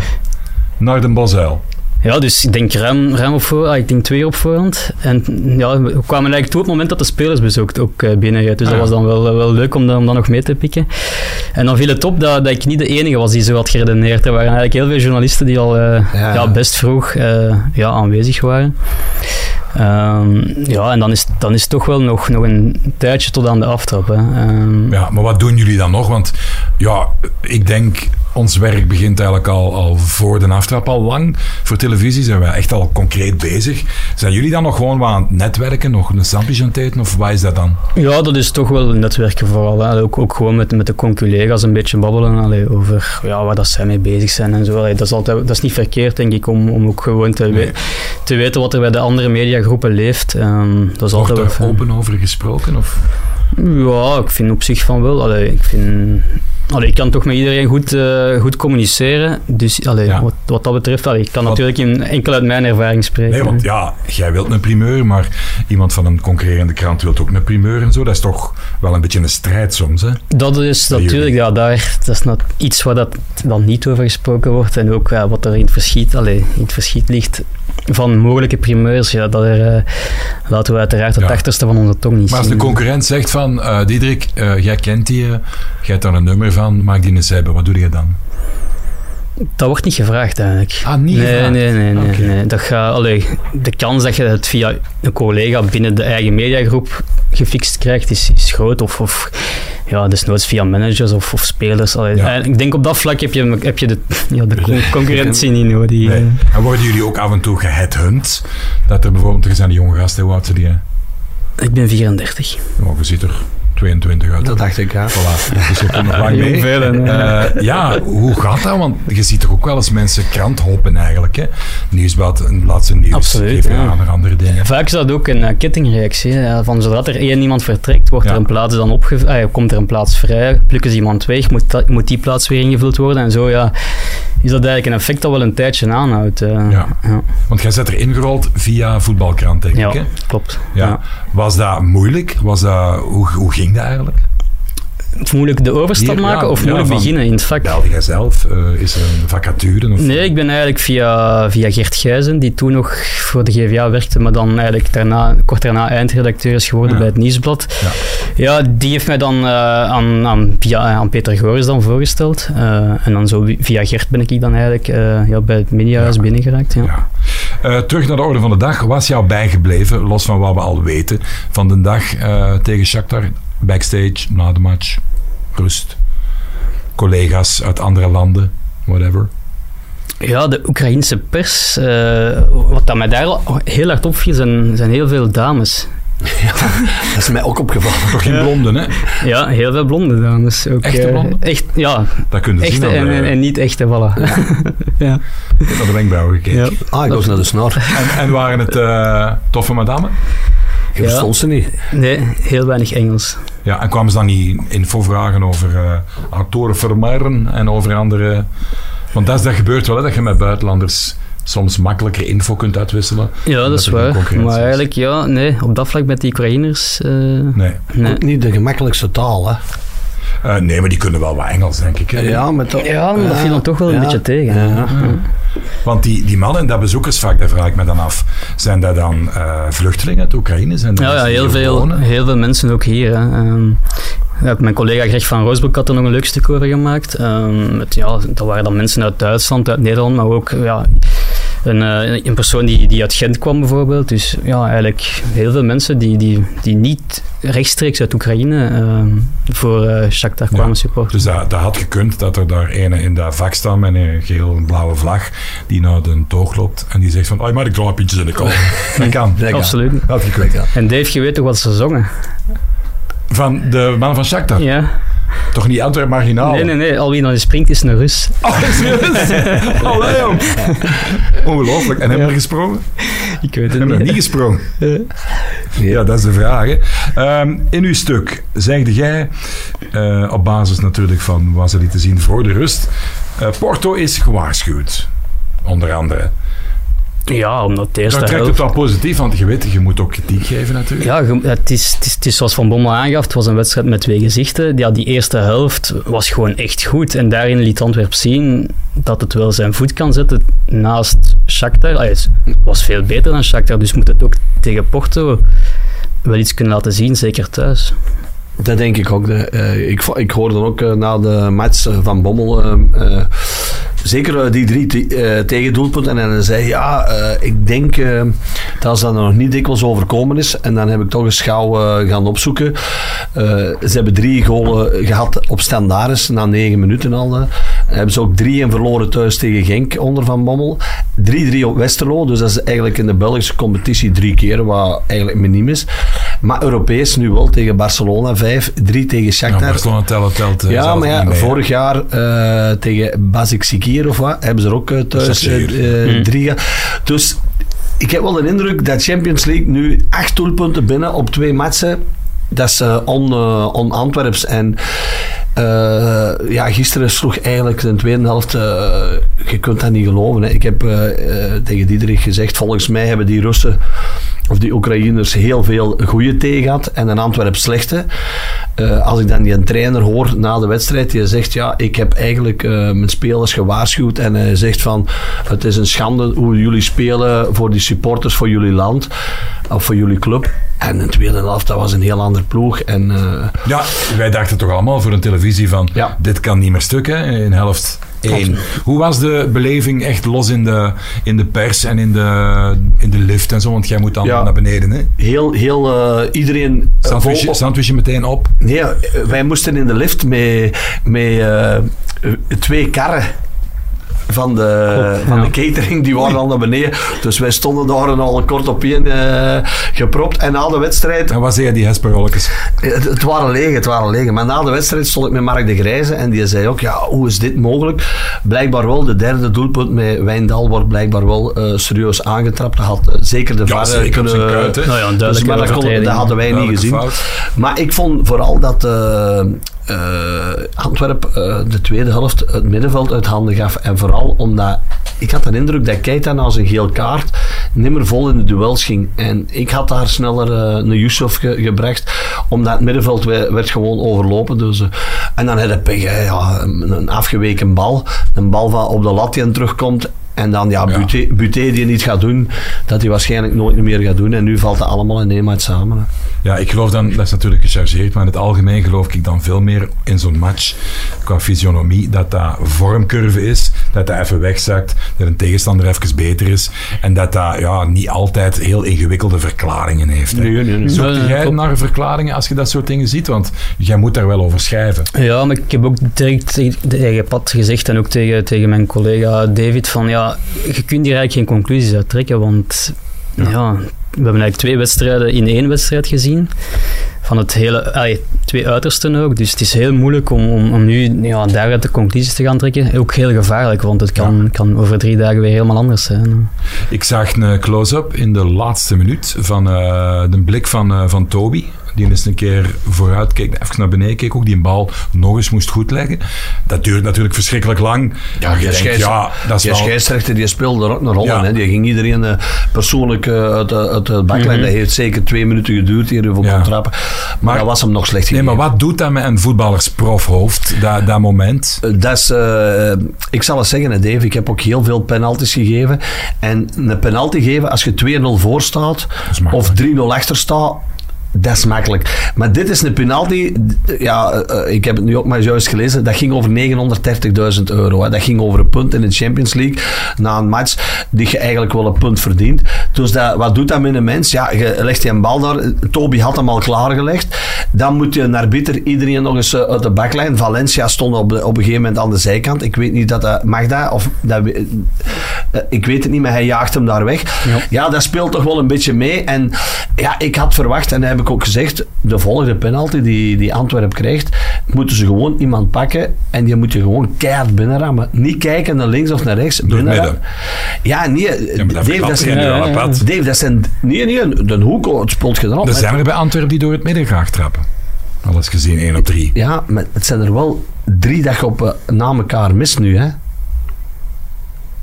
naar de Bosuil.
Ja, dus ik denk ruim, ruim op voorhand. Ah, ik denk twee uur op voorhand. En ja, we kwamen eigenlijk toe op het moment dat de spelers bezocht ook eh, binnenrijdt. Dus
Ah,
dat
ja.
was dan wel, wel leuk om dan, om dan nog mee te pikken. En dan viel het op dat, dat ik niet de enige was die zo had geredeneerd. Er waren eigenlijk heel veel journalisten die al eh,
Ja.
ja. best vroeg eh, ja, aanwezig waren. Ehm, ja, en dan is, dan is het toch wel nog, nog een tijdje tot aan de aftrap. Hè. Ehm,
Ja, maar wat doen jullie dan nog? Want ja, ik denk, ons werk begint eigenlijk al, al voor de aftrap al lang. Voor televisie zijn wij echt al concreet bezig. Zijn jullie dan nog gewoon wat aan het netwerken? Nog een sampje aan het eten? Of wat is dat dan?
Ja, dat is toch wel netwerken vooral. Hè. Ook, ook gewoon met, met de conculega's een beetje babbelen allee, over ja, waar dat zij mee bezig zijn en zo. Allee, dat, is altijd, dat is niet verkeerd, denk ik, om, om ook gewoon te, we-
Nee.
te weten wat er bij de andere mediagroepen leeft. Ehm, dat is
Wordt
altijd wel
er
fijn.
open over gesproken? Of?
Ja, ik vind op zich van wel. Allee, ik, vind, allee, ik kan toch met iedereen goed, eh, goed communiceren. Dus allee,
Ja.
wat, wat dat betreft, allee, ik kan
Want-
natuurlijk in, enkel uit mijn ervaring spreken.
Nee, want ja, jij wilt een primeur, maar iemand van een concurrerende krant wil ook een primeur en zo. Dat is toch wel een beetje een strijd soms, hè?
Dat is
Bij
natuurlijk, ja, daar, dat is nog iets waar dat dan niet over gesproken wordt. En ook ja, wat er in het verschiet, allee, in het verschiet ligt van mogelijke primeurs. Ja, dat er, eh, laten we uiteraard het
Ja.
achterste van onze tong niet
Maar als
zien.
de concurrent zegt van, eh Diederik, eh, jij kent die, eh, jij hebt daar een nummer van, maak die eens hebben. Wat doe je dan?
Dat wordt niet gevraagd eigenlijk.
Ah, niet
nee,
gevraagd?
nee, nee, nee,
Oké.
nee. Dat gaat, allee, de kans dat je het via een collega binnen de eigen mediagroep gefixt krijgt, is, is groot. Of, of ja, desnoods via managers of, of spelers. Allee,
Ja.
eigenlijk, Ik denk op dat vlak heb je, heb je de, ja, de con- concurrentie niet nodig.
Nee.
eh.
En worden jullie ook af en toe geheadhunt? Dat er bijvoorbeeld, er zijn die jonge gasten, hoe oud zijn die? hè?
Ik ben 34.
Oh, je ziet er 22 uit.
dat dacht ik, ja.
Voilà, dus je komt nog lang mee. Eh, ja, hoe gaat dat? Want je ziet toch ook wel eens mensen krant hoppen eigenlijk, hè? Nieuwsblad, een laatste nieuws,
Absoluut,
geef je
ja.
aan naar andere dingen.
Vaak is dat ook een eh, kettingreactie. hè. Ja, Van zodra er één iemand vertrekt, wordt
Ja.
er een plaats dan opge- ah, ja, komt er een plaats vrij, plukken ze iemand weg, moet, dat- moet die plaats weer ingevuld worden. En zo ja, is dat eigenlijk een effect dat wel een tijdje aanhoudt. eh.
Ja.
Ja,
Want jij zet er ingerold via voetbalkrant, denk
Ja,
ik, hè?
klopt.
Ja.
Ja.
Was dat moeilijk? Was dat, hoe, hoe ging dat eigenlijk?
Moeilijk de overstap
Hier, ja,
maken of
ja,
moeilijk
van-
beginnen in het vak?
Belde jij zelf? Eh, is er een vacature? Of,
Nee, ik ben eigenlijk via, via Gert Gijzen, die toen nog voor de GVA werkte, maar dan eigenlijk daarna, kort daarna eindredacteur is geworden
Ja.
bij het Nieuwsblad.
Ja.
Ja. die heeft mij dan eh, aan, aan, via, eh, aan Peter Goris dan voorgesteld. Eh, en dan zo wi- via Gert ben ik dan eigenlijk eh, ja, bij het mediahuis
Ja.
binnengeraakt. Ja.
Ja. Eh, terug naar de orde van de dag. Was jou bijgebleven, los van wat we al weten, van de dag eh, tegen Shakhtar, backstage, na de match, rust, collega's uit andere landen, whatever.
Ja, de Oekraïense pers, eh, wat dat mij daar al heel hard opviel, zijn, zijn heel veel dames.
Dat is mij ook opgevallen.
Toch geen blonden, hè?
Ja, heel veel blonde dames. Ook,
Echte
eh,
blonden?
echt, ja,
Dat kun je zien eh,
echte
aan de,
eh, en, en, en niet echte, voilà.
aan de wenkbrauwen gekeken.
Ja.
Ah, ik was naar de snor.
En, en waren het eh, toffe madame?
Je
Ja.
verstond ze niet.
Nee, heel weinig Engels.
Ja, en kwamen ze dan niet info vragen over eh, actoren vermaren en over andere... Want dat, is, dat gebeurt wel, hè, dat je met buitenlanders soms makkelijker info kunt uitwisselen.
Ja, dat
Omdat
is
er geen
waar.
concurrentie
Maar
is.
eigenlijk, ja, nee, op dat vlak met die Oekraïners, eh,
Nee.
nee.
Ook niet de gemakkelijkste taal, hè.
Eh, nee, maar die kunnen wel wat Engels, denk ik. Hè?
Ja, met dat...
Ja, maar dat viel dan toch wel een beetje tegen.
Ja.
Want die, die mannen in dat bezoekersvak, daar vraag ik me dan af, zijn dat dan eh, vluchtelingen uit Oekraïne? Zijn dat
Ja, ja
mensen die
heel,
hier
veel,
wonen?
heel veel mensen ook hier. Hè. Ehm, Ja, mijn collega Greg van Roosbroek had er nog een leuk stuk over gemaakt. Um, het, ja, dat waren dan mensen uit Duitsland, uit Nederland, maar ook ja, een, eh, een persoon die, die uit Gent kwam bijvoorbeeld. Dus ja, eigenlijk heel veel mensen die, die, die niet rechtstreeks uit Oekraïne uh, voor uh, Shakhtar kwamen ja, supporten.
Dus dat, dat had gekund dat er daar ene in dat vak staat met een geel en blauwe vlag die naar de toog loopt en die zegt van, oh, maar ik draai in de kop. dat kan.
Dat Absoluut.
Dat had gekund. Ja.
En Dave, je weet toch wat ze zongen?
Van de man van Shakhtar?
Ja.
Toch niet Antwerp marginaal?
Nee, nee, nee. Al wie dan springt is een Rus.
Oh, is een Rus? Allee, jong. Ongelooflijk. En hebben we gesprongen?
Ik weet het
hebben niet. Hebben
niet
gesprongen? Ja, dat is de vraag. Hè. Um, in uw stuk zegde jij, uh, op basis natuurlijk van wat ze lieten zien voor de rust, uh, Porto is gewaarschuwd. Onder andere.
Ja, omdat de eerste
Dat trekt het wel positief, want je weet, je moet ook kritiek geven natuurlijk.
Ja, het is, het is, het is zoals Van Bommel aangaf, het was een wedstrijd met twee gezichten. Ja, die eerste helft was gewoon echt goed. En daarin liet Antwerp zien dat het wel zijn voet kan zetten naast Shakhtar. Ah, het was veel beter dan Shakhtar, dus moet het ook tegen Porto wel iets kunnen laten zien, zeker thuis.
Dat denk ik ook. eh, ik, ik hoorde ook eh, na de match eh, van Bommel, eh, zeker eh, die drie te, tegendoelpunten, en hij zei, ja, eh, ik denk dat ze dat nog niet dikwijls overkomen is. En dan heb ik toch eens gauw eh, gaan opzoeken. ze hebben drie golen gehad op standaards, na negen minuten al. Dan hebben ze ook drie en verloren thuis tegen Genk onder Van Bommel. 3-3 op Westerlo, dus dat is eigenlijk in de Belgische competitie drie keer, wat eigenlijk miniem is. Maar Europees nu wel tegen Barcelona 5, 3 tegen Shakhtar. Ja,
Barcelona telt, telt
Ja, maar ja, vorig jaar uh, tegen Basik Sikir of wat, hebben ze er ook uh, thuis uh, drie. Mm. Dus ik heb wel de indruk dat Champions League nu acht doelpunten binnen op twee matchen. Dat is on, eh, on Antwerps. En uh, ja, gisteren sloeg eigenlijk de tweede helft. Uh, je kunt dat niet geloven. Hè. Ik heb uh, tegen Diederik gezegd: volgens mij hebben die Russen of die Oekraïners heel veel goede thee gehad en een Antwerp slechte. Eh, als ik dan die trainer hoor na de wedstrijd, die zegt: Ja, ik heb eigenlijk eh, mijn spelers gewaarschuwd. En hij zegt: van, Het is een schande hoe jullie spelen voor die supporters, voor jullie land of voor jullie club. En de tweede helft, dat was een heel ander ploeg. En, uh...
Ja, wij dachten toch allemaal voor een televisie van, ja. dit kan niet meer stuk hè, in helft 1. Hoe was de beleving echt los in de, in de pers en in de, in de lift en zo? Want jij moet dan ja. naar beneden, hè?
Heel, heel uh, iedereen...
Sandwichje, sandwich meteen op?
Nee, eh, wij moesten in de lift met, met uh, twee karren van de, Klopt, van ja. de catering, die waren al naar beneden. Dus wij stonden daar en al kort op één uh, gepropt. En na de wedstrijd...
En wat zei die hesperolletjes?
Het, het, waren leeg, het waren leeg. Maar na de wedstrijd stond ik met Mark de Grijze en die zei ook, ja, hoe is dit mogelijk? Blijkbaar wel, de derde doelpunt met Wijndal wordt blijkbaar wel uh, serieus aangetrapt. Dat had uh, zeker de
ja,
VAR
kunnen... eh, Kruid,
nou ja, dus,
maar dat, kon, dat, hadden wij niet gezien. Fout. Maar ik vond vooral dat... Uh, Antwerp uh, de tweede helft het middenveld uit handen gaf. En vooral omdat ik had de indruk dat Keita na zijn geel kaart nimmer vol in de duels ging. En ik had daar sneller uh, een Yusuf ge gebracht, omdat het middenveld we werd gewoon overlopen. Dus, en dan had hij ja, een afgeweken bal, een bal van op de lat die terugkomt. En dan, ja, ja. Buté, Buté die niet gaat doen, dat hij waarschijnlijk nooit meer gaat doen. En nu valt dat allemaal in één samen. Hè.
Ja, ik geloof dan, dat is natuurlijk gechargeerd, maar in het algemeen geloof ik dan veel meer in zo'n match qua fysionomie, dat dat vormcurve is, dat dat even wegzakt, dat een tegenstander even beter is en dat dat ja, niet altijd heel ingewikkelde verklaringen heeft. Hè.
Nee, nee, nee.
Zoek jij nee, naar verklaringen als je dat soort dingen ziet? Want jij moet daar wel over schrijven.
Ja, maar ik heb ook direct tegen Pat gezegd en ook tegen, tegen mijn collega David van ja, je kunt hier eigenlijk geen conclusies uit trekken, want ja. ja. we hebben eigenlijk twee wedstrijden in één wedstrijd gezien. Van het hele, ay, twee uitersten ook. Dus het is heel moeilijk om, om, om nu ja, daaruit de conclusies te gaan trekken. Ook heel gevaarlijk, want het kan, ja. kan over drie dagen weer helemaal anders zijn.
Ik zag een eh, close-up in de laatste minuut van uh, de blik van, uh, van Toby. Die eens een keer vooruit keek, even naar beneden keek, ook die bal nog eens moest goedleggen. Dat duurt natuurlijk verschrikkelijk lang.
Ja, je denkt, ja, dat is wel... scheidsrechter die speelde er ook een rol ja. in. Die ging iedereen uh, persoonlijk uh, uit, uit het baklijn. Mm -hmm. Dat heeft zeker twee minuten geduurd hier voor ja. trappen. Maar, maar, dat was hem nog slecht
gegeven. Nee, maar wat doet dat met een voetballersprofhoofd, dat, dat moment?
Uh, dat is, ik zal het zeggen, Dave, ik heb ook heel veel penalties gegeven. En een penalty geven als je 2-0 voor staat of 3-0 achter staat, dat is makkelijk. Maar dit is een penalty, d- ja, eh, eh, ik heb het nu ook maar juist gelezen, dat ging over 930.000 euro. Hè. Dat ging over een punt in de Champions League, na een match die je eigenlijk wel een punt verdient. Dus dat, wat doet dat met een mens? Ja, je legt die een bal daar, Toby had hem al klaargelegd, dan moet je een arbiter iedereen nog eens eh, uit de baklijn. Valencia stond op, de- op een gegeven moment aan de zijkant. Ik weet niet dat dat mag dat, of dat, we- eh, ik weet het niet, maar hij jaagt hem daar weg. Ja.
Ja.
dat speelt toch wel een beetje mee. En ja, ik had verwacht, en dat heb ik ook gezegd, de volgende penalty die, die Antwerp krijgt, moeten ze gewoon iemand pakken en die moet je gewoon keihard binnenrammen. Niet kijken naar links of naar rechts.
het
binnenrammen.
midden.
Ja, nee.
Ja, maar dat
Dave,
verklapt
dat
je
zijn,
nu
ja,
al,
ja,
Pat.
Dave, dat zijn... Nee, nee, de hoek, oh, het speelt je erop.
Er zijn er bij Antwerpen die door het midden graag trappen. Alles gezien 1 op 3.
Ja, maar het zijn er wel drie dat je op eh, na elkaar mist nu, hè.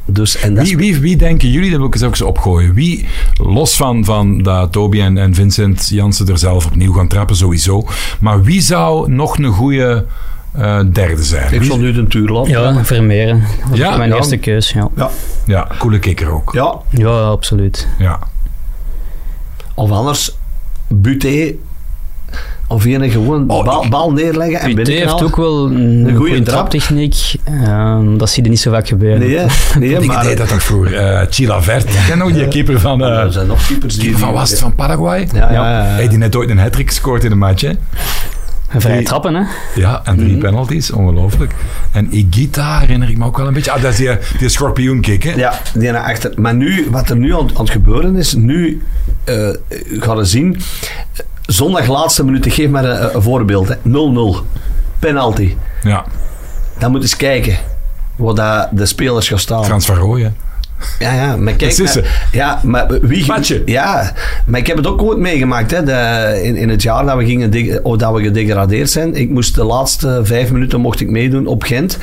Dus, en dat is-
Wie, wie, wie denken jullie, dat wil ik eens ook eens opgooien, wie, los van, van dat Toby en, en Vincent Jansen er zelf opnieuw gaan trappen, sowieso, maar wie zou nog een goede eh, derde zijn?
Ik
Wie-
zal nu de tuur laten.
Ja, Vermeeren. Dat was
Ja,
mijn
ja.
eerste keus, ja.
Ja, coole kikker ook.
Ja,
Ja, absoluut.
Ja.
of anders Buté of ene gewoon
Oh,
bal,
ik-
bal neerleggen en
Buté
binnenknallen.
heeft ook wel een,
Een goeie
goede
trap.
traptechniek. Ehm, dat zie je niet zo vaak gebeuren.
Nee, hè? nee hè,
Ik
maar...
deed dat toch voor eh Chila Vert. Ken nog die keeper van, eh,
er zijn nog keepers die...
die van was het, van Paraguay?
Ja, ja, ja.
Hey, die net ooit een hat-trick gescoord in een match, hè?
En vrije
Nee.
trappen, hè.
Ja, en drie
Mhm.
penalties, ongelooflijk. En Igita herinner ik me ook wel een beetje. Ah, dat is die, die schorpioenkick, hè?
Ja, die naar achter. Maar nu, wat er nu aan, aan het gebeuren is, nu eh gaan we zien. Zondag laatste minuut, ik geef maar een, een voorbeeld. hè. 0-0. Penalty.
Ja,
Dan moet eens kijken waar dat de spelers gaan staan.
Frans van Rooij, hè?
Ja, ja, maar
Dat
kijk...
is
naar- ja, maar wie...
Patje.
Ja, maar ik heb het ook ooit meegemaakt, hè. de- in, in het jaar dat we, gingen deg- of dat we gedegradeerd zijn. Ik moest de laatste vijf minuten mocht ik meedoen op Gent.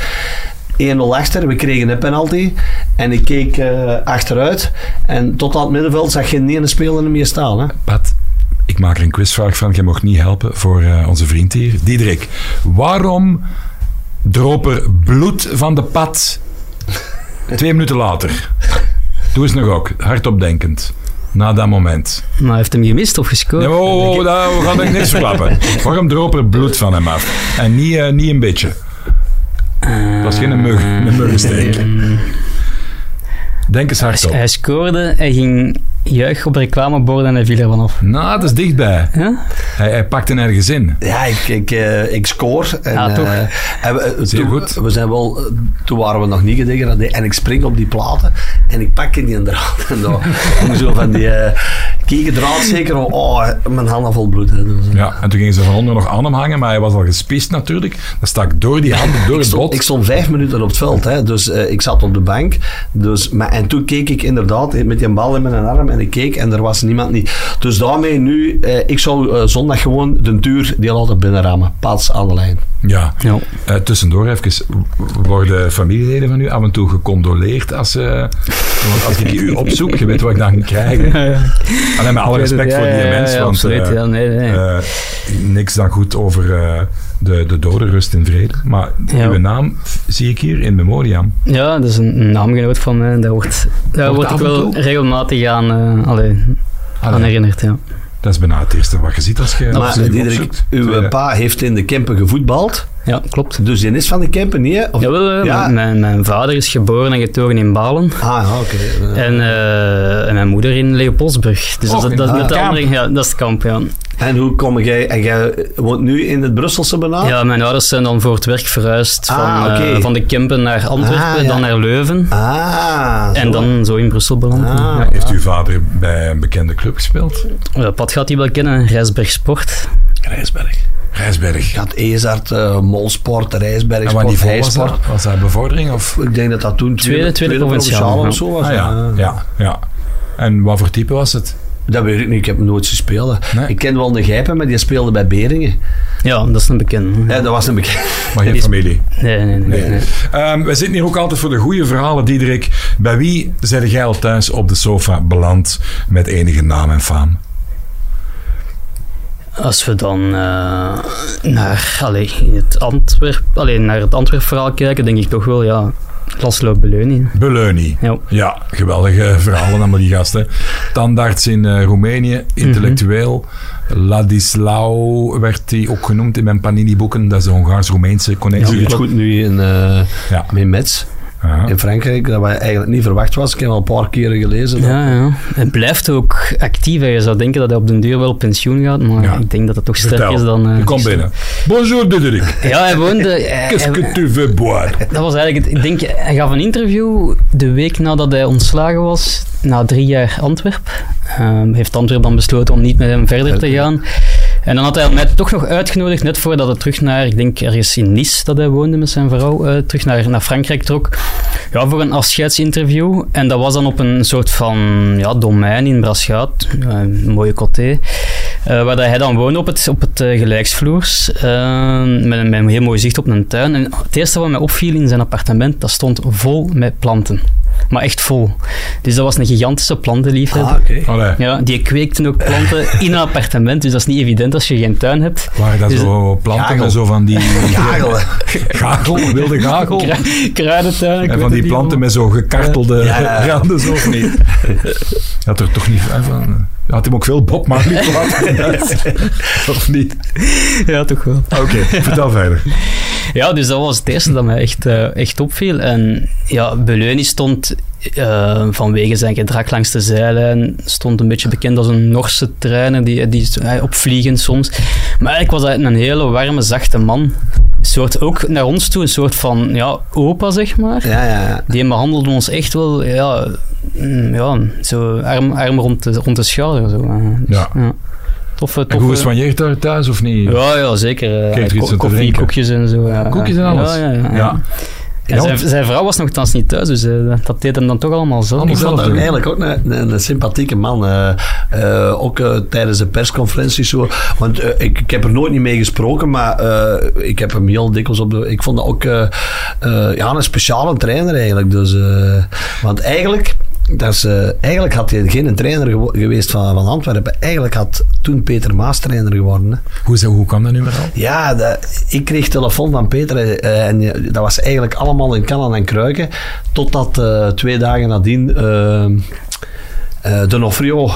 1-0 achter, we kregen een penalty. En ik keek eh, achteruit. En tot aan het middenveld zag geen ene speler meer staan, hè.
Pat, ik maak er een quizvraag van. Je mocht niet helpen voor eh, onze vriend hier. Diederik, waarom droop er bloed van de pad twee minuten later? Doe eens nog ook, hardopdenkend. Na dat moment.
Maar heeft hem gemist of gescoord?
Ja, maar oh, oh, daar- we gaan er niks verklappen. Waarom droop er bloed van hem af? En niet, eh, niet een beetje. Dat was geen mug, een muggensteek.
Ehm,
Denk eens hardop.
hij scoorde, hij ging juichen op reclameborden en hij viel er vanaf.
Nou, dat is dichtbij.
Ja?
Hij, hij pakt een ergens in.
Ja, ik, ik, eh, ik scoor. En,
Ah, toch.
eh, en we, eh,
Zeer
toen,
goed.
We zijn wel, eh, toen waren we nog niet gedegradeerd. En ik spring op die platen en ik pak in die draad. En dan kom ik zo van die eh kekendraad zeker. Oh, mijn handen vol bloed. Hè, dus, eh.
Ja, en toen gingen ze van onder nog aan hem hangen, maar hij was al gespist natuurlijk. Dan stak door die handen, door
Ik
het
stond,
bot.
ik stond vijf minuten op het veld, hè, dus eh, ik zat op de bank. Dus, maar, en toen keek ik inderdaad met die bal in mijn arm en ik keek en er was niemand niet. Dus daarmee nu, eh, ik zou eh, zondag gewoon de duur die laten binnenrammen. Paats aan de lijn.
Ja,
Ja.
Eh, tussendoor even. Worden familieleden van u af en toe gecondoleerd als ze... Want als ik u opzoek, je weet wat ik dan krijg. hè. Alleen met alle respect voor die
mensen
mens, want
absoluut.
eh,
ja, nee, nee.
eh, niks dan goed over eh, de, de dode rust in vrede. Maar
Ja.
uw naam zie ik hier in memoriam.
ja, dat is een, een naamgenoot van mij. Daar wordt, daar
Wordt
word ik
af en
wel
toe? Ah,
regelmatig aan, eh, allee, aan herinnerd. Ja.
Dat is bijna het eerste wat je ziet als je
Maar
als je hem
Diederik,
opzoekt.
uw
Tweede.
pa heeft in de Kempen gevoetbald.
ja, klopt.
Dus die is van de Kempen, niet? hè? Of...
Jawel, eh,
Ja.
mijn- Mijn, mijn vader is geboren en getogen in Balen.
Ah, ja, oké. Eh,
En, eh, en mijn moeder in Leopoldsburg. Dus
Och,
dat, dat,
in
is
het
net de
kamp.
andere, ja, dat is het kamp, ja.
En hoe kom jij... En jij woont nu in het Brusselse bijna?
Ja, mijn ouders zijn dan voor het werk verhuisd
Ah,
van, eh,
oké.
van de Kempen naar Antwerpen,
Ah, ja.
dan naar Leuven.
Ah.
En
zo.
dan zo in Brussel beland.
Ah.
Heeft uw vader bij een bekende club gespeeld?
Eh, Pat gaat die wel kennen, Rijsberg Sport.
Rijsberg. Rijsberg.
Gaat Ezart, eh, Molsport, Rijsberg,
En wat
Sport,
niveau was
Heijsport.
dat? Was dat bevordering of...
Ik denk dat dat toen
Tweede- tweede provinciale,
of zo was.
Ah ja,
Ah.
ja, ja. En wat voor type was het?
Dat weet ik niet, ik heb hem nooit gespeeld.
Nee.
Ik ken wel een Gijpen, maar die speelde bij Beringen.
Ja, dat is een bekende.
Ja, dat was een bekende.
Maar geen familie.
Nee, nee, nee. nee.
Nee. Ehm, we zitten hier ook altijd voor de goede verhalen, Diederik. Bij wie zijn jij al thuis op de sofa beland met enige naam en faam?
Als we dan eh, naar, allee, in het Antwerp, allee, naar het Antwerp-verhaal kijken, denk ik toch wel, ja, Laszlo Beleunie.
Beleuni.
Ja.
Ja, geweldige verhalen allemaal die gasten. Tandarts in eh, Roemenië, intellectueel.
Mhm.
Ladislau werd hij ook genoemd in mijn Panini-boeken. Dat is de Hongaars-Roemeense
Ik
connectie.
zie het goed nu in, eh
Ja.
met Metz
Aha.
in Frankrijk, dat wij eigenlijk niet verwacht was. Ik heb al een paar keren gelezen. dat-
Ja, ja. Hij blijft ook actief. hè. Je zou denken dat hij op den duur wel op pensioen gaat, maar
Ja.
ik denk dat het toch sterker
Vertel,
is dan... eh,
je komt
gisteren.
binnen. Bonjour, Diederik.
Ja, hij woonde... hij-
Qu'est-ce
hij-
que tu veux boire?
Dat was eigenlijk het, ik denk, hij gaf een interview de week nadat hij ontslagen was, na drie jaar Antwerp. Ehm, heeft Antwerp dan besloten om niet met hem verder te gaan. En dan had hij mij toch nog uitgenodigd, net voordat hij terug naar, ik denk ergens in Nice dat hij woonde met zijn vrouw, eh, terug naar, naar Frankrijk trok. Ja, voor een afscheidsinterview. En dat was dan op een soort van ja, domein in Braschaat, eh, een mooie coté. Eh, waar dat hij dan woonde op het, op het eh, gelijksvloers. eh, met, een, met een heel mooi zicht op een tuin. En het eerste wat mij opviel in zijn appartement, dat stond vol met planten. Maar echt vol. Dus dat was een gigantische plantenliefhebber.
Ah, oké.
Allee,
Ja, die kweekte ook planten in een appartement. Dus dat is niet evident als je geen tuin hebt.
waren dat
Dus-
zo planten
Gagel.
en zo van die...
Kagel, hè.
Gagel, wilde gagel.
Kru- Kruidentuin. ik
En
weet
van
het
die
niet
planten
allemaal.
met zo gekartelde
Ja, ja.
randen, zo of niet? Had er toch niet eh, van... eh, Had hem ook veel Bob Marley platen. of niet?
Ja, toch wel.
Oké, vertel verder.
Ja, dus dat was het eerste dat mij echt, eh, echt opviel. En ja, Beleuni stond eh, vanwege zijn gedrag langs de zijlijn, stond een beetje bekend als een Norse trainer, die, die is- hij opvliegend soms. Maar eigenlijk was hij een hele warme, zachte man. Een soort, ook naar ons toe, een soort van ja, opa, zeg maar.
Ja, ja, ja.
Die behandelde ons echt wel, ja, mm, ja zo arm, arm rond, de, rond de schouder. Zo. eh. Dus,
Ja.
ja. Toffe,
En
toffe...
hoe soigneert daar thuis of niet?
Ja, ja, zeker. eh,
Kreeg er iets
ko-
te
koffie,
drinken?
koekjes en zo. ja.
Koekjes en
Ja,
alles?
Ja, ja, ja.
Ja.
En
Ja.
zijn, zijn vrouw was nogthans niet thuis, dus eh, dat deed hem dan toch allemaal zelf.
Anders-
Ik vond
zelf
hem
doen.
eigenlijk ook een, een, een sympathieke man. eh, eh, ook eh, tijdens de persconferenties zo. Want eh, ik, ik heb er nooit niet mee gesproken, maar eh, ik heb hem heel dikwijls op de... Ik vond dat ook eh, eh, ja, een speciale trainer eigenlijk. Dus, eh, want eigenlijk... Dat is, eh, eigenlijk had hij geen trainer gewo- geweest van, van Antwerpen. Eigenlijk had toen Peter Maas trainer geworden. Hè.
Hoe, is dat- hoe kwam dat nu maar al?
Ja, dat- ik kreeg telefoon van Peter eh, en eh, dat was eigenlijk allemaal in kannen en kruiken. Totdat eh, twee dagen nadien eh, eh, Donofrio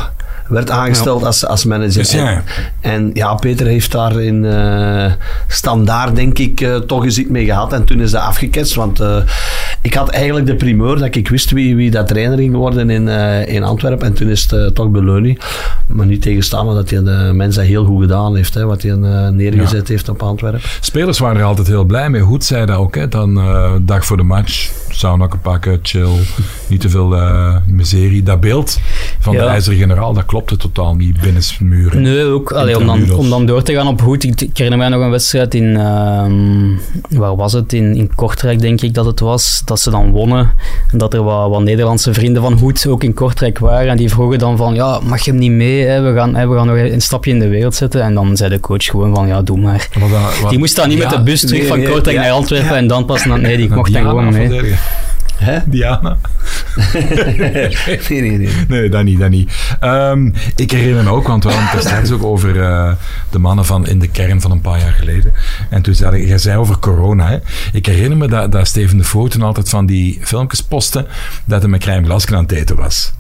werd aangesteld als, als manager.
Dus ja.
En, en ja, Peter heeft daar in eh, standaard, denk ik, eh, toch eens iets mee gehad. En toen is dat afgeketst, want eh, ik had eigenlijk de primeur dat ik wist wie, wie dat trainer ging worden in, eh, in Antwerpen. En toen is het eh, toch Beleunie. Maar niet tegenstaande dat hij eh, de mens dat heel goed gedaan heeft, hè, wat hij eh, neergezet heeft op Antwerpen.
Spelers waren er altijd heel blij mee. Hoed zei dat ook. Hè. Dan eh, dag voor de match, saunakken pakken, chill, niet te veel eh, miserie. Dat beeld van de
Ja.
ijzeren generaal, dat klopte totaal niet binnen muren.
Nee, ook. Allee, om, dan,
Intramuros.
om dan door te gaan op goed. Ik, ik herinner mij nog een wedstrijd in... ehm, waar was het? In, in Kortrijk, denk ik dat het was. Dat ze dan wonnen. En dat er wat, wat Nederlandse vrienden van Hoed ook in Kortrijk waren. En die vroegen dan van... Ja, mag je hem niet mee? Hè? We, gaan, hè, we gaan nog een stapje in de wereld zetten. En dan zei de coach gewoon van... Ja, doe maar.
Maar dat- wat-
Die moest dan niet
Ja,
met de bus terug
nee,
van
nee,
Kortrijk
ja.
naar Antwerpen. En dan pas... naar- nee, die
Diana
mocht dan gewoon mee.
verdedigen.
Hè?
Diana.
nee, nee, nee.
Nee, dat niet, dat niet. Ehm, ik herinner me ook, want we hadden het er straks ook over eh, de mannen van in de kern van een paar jaar geleden. En toen zei ik, jij zei over corona, hè. Ik herinner me dat, dat Steven de Voort toen altijd van die filmpjes postte dat hij met crème glasken aan het eten was.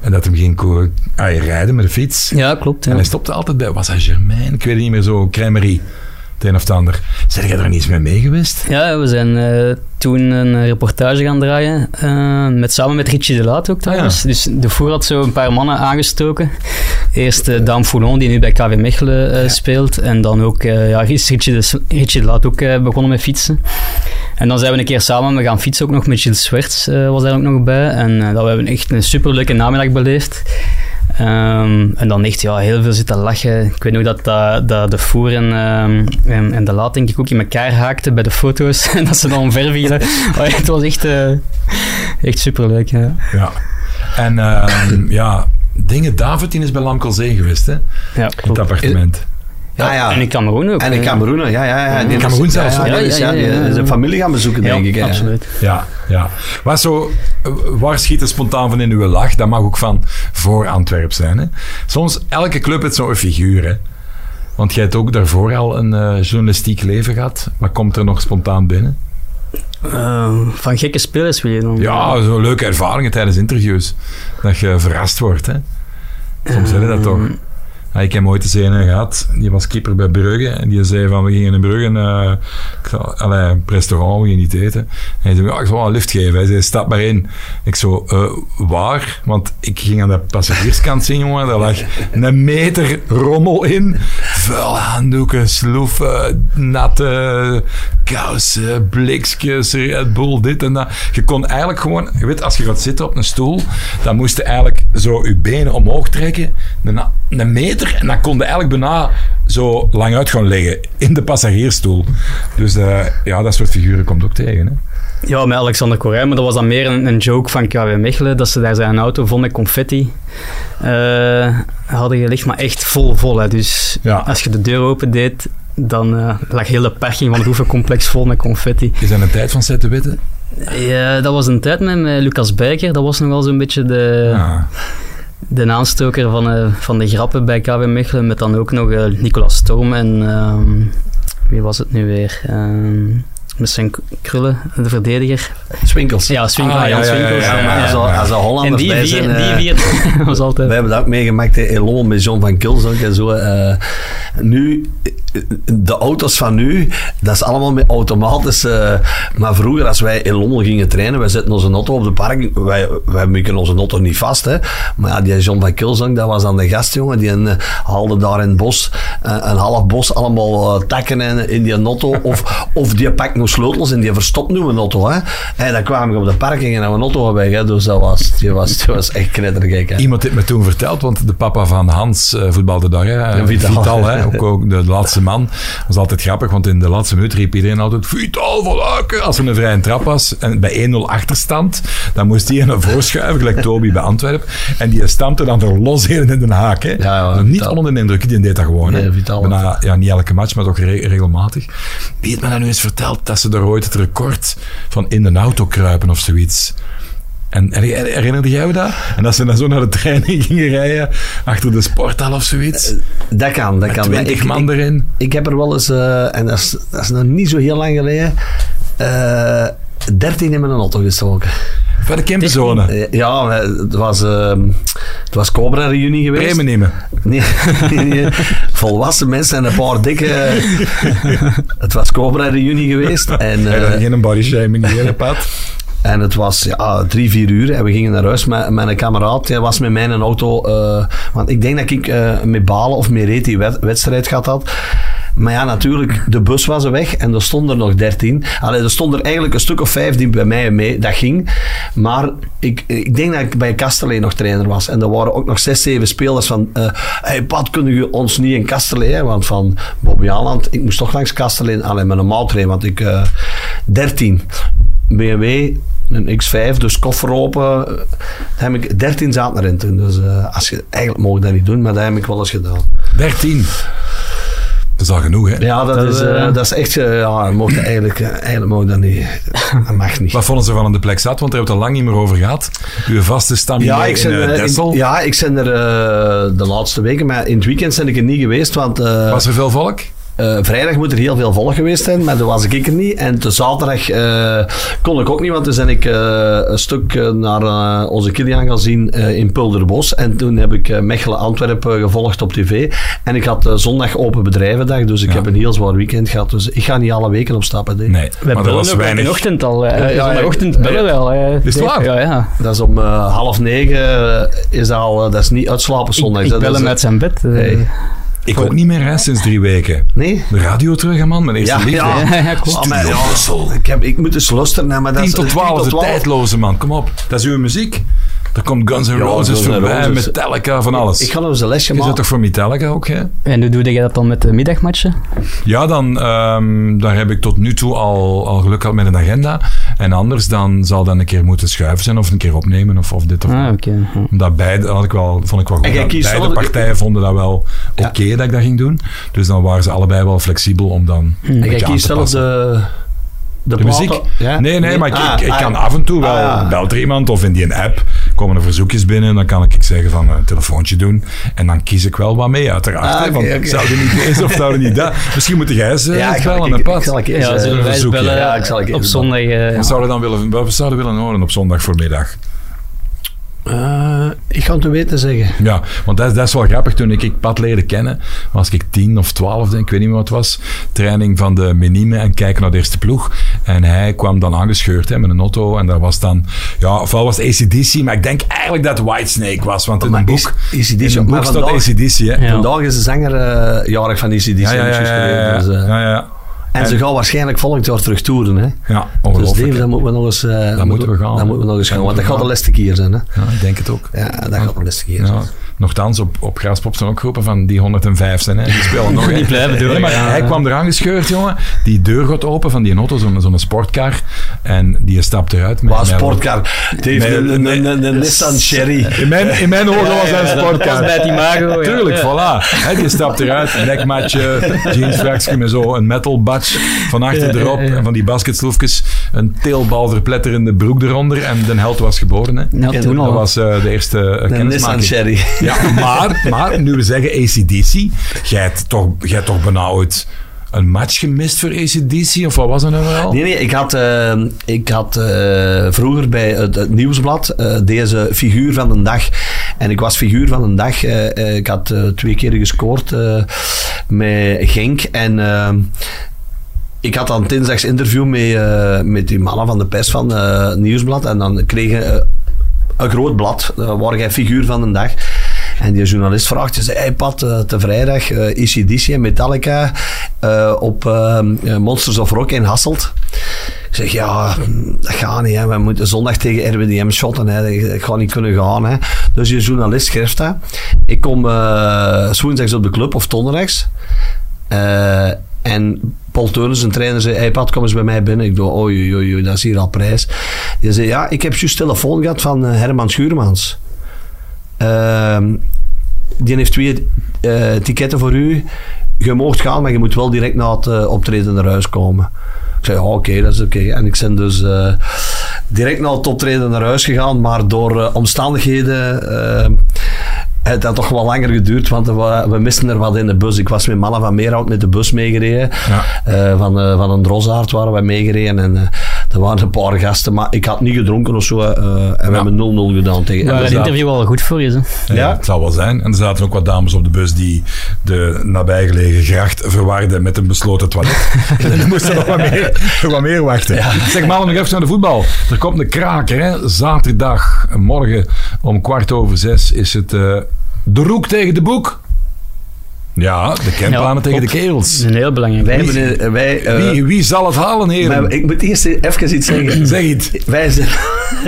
En dat hem ging ko- ah, je rijden met de fiets.
Ja, klopt.
En
Ja.
hij stopte altijd bij, was hij Germain? Ik weet het niet meer zo, crèmerie. Het een of het ander. Zijn jij er niet eens mee mee geweest?
Ja, we zijn eh, toen een reportage gaan draaien. eh, met, samen met Richie de Laat ook trouwens.
Ah,
Dus de voer had zo een paar mannen aangestoken. Eerst eh, Daan Foulon, die nu bij KV Mechelen eh, speelt. En dan ook eh, ja, is Richie de, S- Richie de Laat ook eh, begonnen met fietsen. En dan zijn we een keer samen we gaan fietsen, ook nog met Gilles Swerts eh, was daar ook nog bij. En eh, dat we hebben echt een superleuke namiddag beleefd. Ehm, en dan echt ja, heel veel zitten lachen. Ik weet nog dat, dat, dat de voer en, ehm, en, en de laat denk ik ook in elkaar haakten bij de foto's. En dat ze dan omver vielen. Maar het was echt, eh, echt superleuk. Ja.
Ja. En ehm, ja, dingen, David die is bij Lamkelzee geweest, hè? In
Ja,
het
klopt.
appartement.
Ja, Ah, ja.
En in Cameroen ook.
En in
hè.
Cameroen, ja, ja. ja.
In Kameroen zelfs,
Ja,
hè?
ja, ja, ja,
Ja, ja, ja, ja.
Zijn familie gaan bezoeken,
Ja,
denk ik. hè.
absoluut.
Ja, ja. Waar, zo, eh, waar schiet er spontaan van in uw lach? Dat mag ook van voor Antwerp zijn. Hè? Soms, elke club heeft zo'n figuur. Hè? Want jij hebt ook daarvoor al een eh, journalistiek leven gehad. Wat komt er nog spontaan binnen?
Eh, van gekke spelers wil je dan?
Ja, zo leuke ervaringen tijdens interviews. Dat je verrast wordt, hè. Soms hebben dat
Ehm,
toch. Ja, Ah, ik heb ooit eens een eh, gehad, die was keeper bij Brugge. En die zei van, we gingen in Brugge, eh ik zal- allee, een restaurant, we gingen niet eten. En hij zei, ja, ik zal wel een lift geven. Hij zei, stap maar in. Ik zo, eh, waar? Want ik ging aan de passagierskant zien, jongen. Daar lag een meter rommel in. Vuil handdoeken, sloeven, natte kousen, blikjes, Red Bull, dit en dat. Je kon eigenlijk gewoon, je weet, als je gaat zitten op een stoel, dan moest je eigenlijk zo je benen omhoog trekken, een, een meter, en dan kon je eigenlijk bijna zo lang uit gaan liggen in de passagiersstoel. Dus eh, ja, dat soort figuren komt ook tegen. Hè?
Ja, met Alexander Corijn, maar dat was dan meer een, een joke van KW Mechelen, dat ze daar zijn auto vol met confetti eh, hadden gelegd, maar echt vol vol. Hè. Dus
Ja.
als je de deur opendeed, dan eh, lag heel de parking van het oefencomplex vol met confetti.
Is dat een tijd van zetten witten?
Ja, dat was een tijd met, met Lucas Bijker, dat was nog wel zo'n beetje de,
Ja.
de aanstoker van, eh, van de grappen bij KW Mechelen, met dan ook nog eh, Nicolas Storm en ehm, wie was het nu weer? Ehm, met zijn krullen, de verdediger.
Swinkels.
Ja, Swinkel,
Ah, ja,
Jan
ja, ja, ja,
Swinkels.
Ja, maar
ja.
Als, al- als de
En
Hollanders
die
bij
vier,
zijn... eh,
die vier was altijd...
We hebben dat ook meegemaakt hè, in Lommel met John van Kils ook en zo. eh. nu, eh, de auto's van nu, dat is allemaal met automatische... eh, maar vroeger, als wij in Lommel gingen trainen, wij zetten onze auto op de park, wij, wij maken onze auto niet vast, hè. Maar ja, die John van Kilsang, dat was dan de gastjongen, die eh, haalde daar in het bos, eh, een half bos, allemaal eh, takken in, in die auto. Of, of die pakt nog sleutels en die verstopt nu een auto, hè. En dan kwamen we op de parking en een auto weg, hè. Dus dat was, die was, die was echt knettergek, hè.
Iemand heeft me toen verteld, want de papa van Hans eh, voetbalde daar, hè,
Ja, Vital.
hè, ook, ook de laatste man. Dat was altijd grappig, want in de laatste minuut riep iedereen altijd Vital van Aken, als er een vrije trap was. En bij 1-0 achterstand, dan moest hij naar voren schuiven, gelijk Toby bij Antwerpen. En die stampte dan er los in in Den Haag. Hè.
ja,
Dus niet
Vital.
onder de indruk, die deed dat gewoon. hè.
Nee, Vital.
Bijna, ja, niet elke match, maar toch re- regelmatig. Wie heeft me dat nu eens verteld, dat ze daar ooit het record van in de auto kruipen of zoiets... En her- her- herinnerde jij je dat? En als ze dan zo naar de trein gingen rijden, achter de sporthal of zoiets,
Dat kan, dat Eh, kan. Maar
twintig
Ik,
man
ik,
erin.
ik heb er wel eens, eh, en dat is, dat is nog niet zo heel lang geleden, eh 13 in mijn auto gestoken.
Van de camperzone.
Eh, Ja, maar het was, eh, het was Cobra reunie geweest.
Bremen nemen.
Nee, nee, nee. volwassen mensen en een paar dikke. het was Cobra reunie geweest. En,
Hey,
eh,
daar geen body shaming hier, hè, Pat.
En het was ja, drie, vier uur en we gingen naar huis met, met een kameraad. Hij was met mij in een auto. eh, want ik denk dat ik eh, met Balen of met Reet die wed- wedstrijd gehad had. Maar ja, natuurlijk, de bus was er weg en er stonden er nog dertien. Allee, er stonden er eigenlijk een stuk of vijf die bij mij mee, dat ging. Maar ik, ik denk dat ik bij Kasterlee nog trainer was. En er waren ook nog zes, zeven spelers van... eh hey Pat, kunnen jullie ons niet in Kasterlee? hè?" Want van Bobby Aland, ik moest toch langs Kasterlee. Alleen met een maaltrain, want ik... eh 13. BMW, een X5, dus koffer open. eh, Daar heb ik 13 zaten erin toen. Dus eh, als je, eigenlijk mogen dat niet doen, maar dat heb ik wel eens gedaan.
13. Dat is al genoeg, hè?
Ja, dat,
Dat,
is, eh,
eh,
dat is echt, eh, ja, mocht je eigenlijk, eh, eigenlijk mogen dat niet. Dat mag niet.
Wat vonden ze van aan de plek zat? Want daar hebben we het al lang niet meer over gehad. Uw vaste stam
Ja,
hier
ik
in
ben,
eh,
eh,
Dessel.
in- ja, ik ben er eh, de laatste weken, maar in het weekend ben ik er niet geweest, want eh,
Was er veel volk?
Eh, vrijdag moet er heel veel volk geweest zijn, maar dat was ik er niet. En te zaterdag eh, kon ik ook niet, want toen ben ik eh, een stuk eh, naar eh, onze Kilian gaan zien eh, in Pulderbos. En toen heb ik eh, Mechelen Antwerpen eh, gevolgd op tv. En ik had eh, zondag open bedrijvendag, dus ik
Ja.
heb een heel zwaar weekend gehad. Dus ik ga niet alle weken op stappen. hè.
Nee,
Wij
maar er was
bellen ook in de
weinig.
ochtend al.
Ja,
eh
ja,
zondagochtend
ja.
bellen we al. eh.
Is het waar?
Ja, ja.
Dat is om eh, half negen, eh, is dat al, eh, dat is niet uitslapen zondag.
Ik, ik
Dat
bel
is-
hem uit zijn bed. eh.
Hey.
Ik ook niet meer, hè, sinds drie weken.
Nee?
De radio terug, hè, man. Mijn eerste liefde.
ja. klopt.
Ah, maar
Studio
ja,
Brussel.
ik, heb, ik moet eens luisteren naar... maar dat
10
is-
tot 12, de
12.
tijdloze man. Kom op, dat is uw muziek. Daar komt Guns N'
Ja,
Roses
Guns N'
voorbij,
Roses.
Metallica, van alles.
Ik ga nog eens een
Is
lesje maken.
dat toch voor Metallica ook, hè?
En hoe doe je dat dan met de middagmatchen?
Ja, dan ehm, daar heb ik tot nu toe al, al geluk gehad met een agenda. En anders dan zal dat een keer moeten schuiven zijn of een keer opnemen of, of dit of
Ah, oké. ja.
Omdat beide, dat had ik wel, vond ik wel goed.
En jij
Dat
kiest
beide
zelf-
partijen vonden dat wel oké dat ik dat ging doen. Dus dan waren ze allebei wel flexibel om dan een
En
beetje
jij
aan
kiest
te
zelf
passen.
de,
De,
platen-
muziek?
Ja?
Nee, nee, maar ik,
Ah,
ik, ik
ah,
kan af en toe wel,
Ah, ja.
belt er iemand of in die app komen er verzoekjes binnen, dan kan ik zeggen van eh, een telefoontje doen en dan kies ik wel wat mee uiteraard.
Ah,
hè, van,
oké, oké.
Zou je niet deze of zou je niet dat? Misschien moet jij ze
Ja,
eens
ik zal
bellen
ik-
en
ik-
pad.
ik zal ik eens,
Zullen we
eh,
Ja, zullen wij eens
verzoekje?
bellen
Ja, ik zal ik
op
even
zondag. eh,
Wat zouden we dan willen, wat zouden we willen horen op zondag voormiddag?
Eh, ik ga het u weten zeggen.
Ja, want dat, is- dat is wel grappig. Toen ik, ik Pat leerde kennen, was ik tien of twaalf, denk ik, ik weet niet meer wat het was. Training van de menine en kijken naar de eerste ploeg. En hij kwam dan aangescheurd hè, met een auto. En daar was dan, ja, ofwel was het ACDC, maar ik denk eigenlijk dat het Whitesnake was. Want in
Maar
een
is-
boek,
AC/DC
in een
maar
boek staat
vandaag-
ACDC, hè.
Ja.
Vandaag is de zanger eh, jarig van die
Ja, ja, ja, ja, ja,
dus, eh,
ja, ja.
En ze gaan waarschijnlijk volgend jaar terug toeren. Hè?
Ja,
Dus
ongelooflijk.
Dave, dan moeten we nog eens... eh,
moeten we gaan, hè.
Dan moeten we nog eens gaan,
Dan
want
moeten
dat gaat
we
de laatste keer zijn. Hè?
Ja, ik denk het ook.
Ja, dat gaat de laatste keer
Ja,
zijn.
nochtans, op, op Graspop zijn ook groepen van die 105 zijn. Hè. Die spelen nog. hè.
Die blijven door,
Nee, maar
ja.
Hij kwam eraan gescheurd, jongen. Die deur gaat open van die auto, zo'n zo'n sportcar. En die stapt eruit. met-
Waar
met-
sportcar? Dave,
Nee,
een-
nee.
een- een een Nissan Cherry.
In mijn, in mijn ogen was hij een
dat past
sportcar.
bij het imago. ja.
Tuurlijk,
Ja.
voilà. Hè, die stapt eruit, nekmatje, jeansvraksje met zo een metal badge van achter erop. En van die basketsloefjes, een teelbal verpletterende broek eronder. En de held was geboren. Hè.
Ja, toen
dat
al.
was eh, de eerste eh,
Een Nissan
kennismaking.
Cherry.
Ja, maar, maar nu we zeggen ACDC, jij hebt toch, jij hebt toch benauwd een match gemist voor ACDC? Of wat was dat nou wel?
Nee, nee, ik had, eh, ik had eh, vroeger bij het, het nieuwsblad eh, deze figuur van de dag. En ik was figuur van de dag. eh, eh, ik had eh, twee keer gescoord eh, met Genk. En eh, ik had dan dinsdags interview met, eh, met die mannen van de pers van eh, het nieuwsblad. En dan kregen eh, een groot blad, eh, waar jij figuur van de dag. En die journalist vraagt, ze zei, hey Pat, eh, te vrijdag eh ACDC en Metallica eh, op ehm, eh, Monsters of Rock in Hasselt. Ik zeg, ja, mm, dat gaat niet. Hè. We moeten zondag tegen RWDM shotten. Hè. Dat- Dat gaat niet kunnen gaan. Hè. Dus die journalist schrijft dat. Ik kom eh 's woensdags op de club, of donderdags. Eh, en Paul Teunens, een trainer, zei... Hey Pat, kom eens bij mij binnen. Ik dacht, oei, oei, oei, dat is hier al prijs. Die zei, ja, ik heb juist telefoon gehad van eh, Herman Schuurmans. Ehm, die heeft twee eh ticketen voor u. Je moogt gaan, maar je moet wel direct na het eh, optreden naar huis komen. Ik zei, ja, oké, dat is oké. En ik ben dus eh, direct na het optreden naar huis gegaan, maar door eh, omstandigheden... eh, het had toch wel langer geduurd, want we, we misten er wat in de bus. Ik was met mannen van Meerhout met de bus meegereden.
Ja.
Eh, van, eh, van een drosaard waren we meegereden en eh, er waren een paar gasten. Maar ik had niet gedronken of zo. eh, en we
Ja.
hebben 0-0 gedaan tegen
Waar het
dat-
interview al goed voor is. Hè.
Ja,
dus ja.
het zal wel zijn. En er zaten ook wat dames op de bus die de nabijgelegen gracht verwarden met een besloten toilet. Ze moesten nog wat meer, nog wat meer wachten. Zeg maar, nog even naar de voetbal. Er komt een kraker, hè. Zaterdag, morgen om kwart over zes is het eh, de roek tegen de boek. Ja, de kentbanen
Ja,
tegen de
op-
kerels.
Een heel belangrijk.
Wij,
punt.
hebben, eh, wij, eh,
Wie, wie zal het halen, heren?
maar ik moet eerst even iets zeggen.
Zeg iets.
Wij zijn...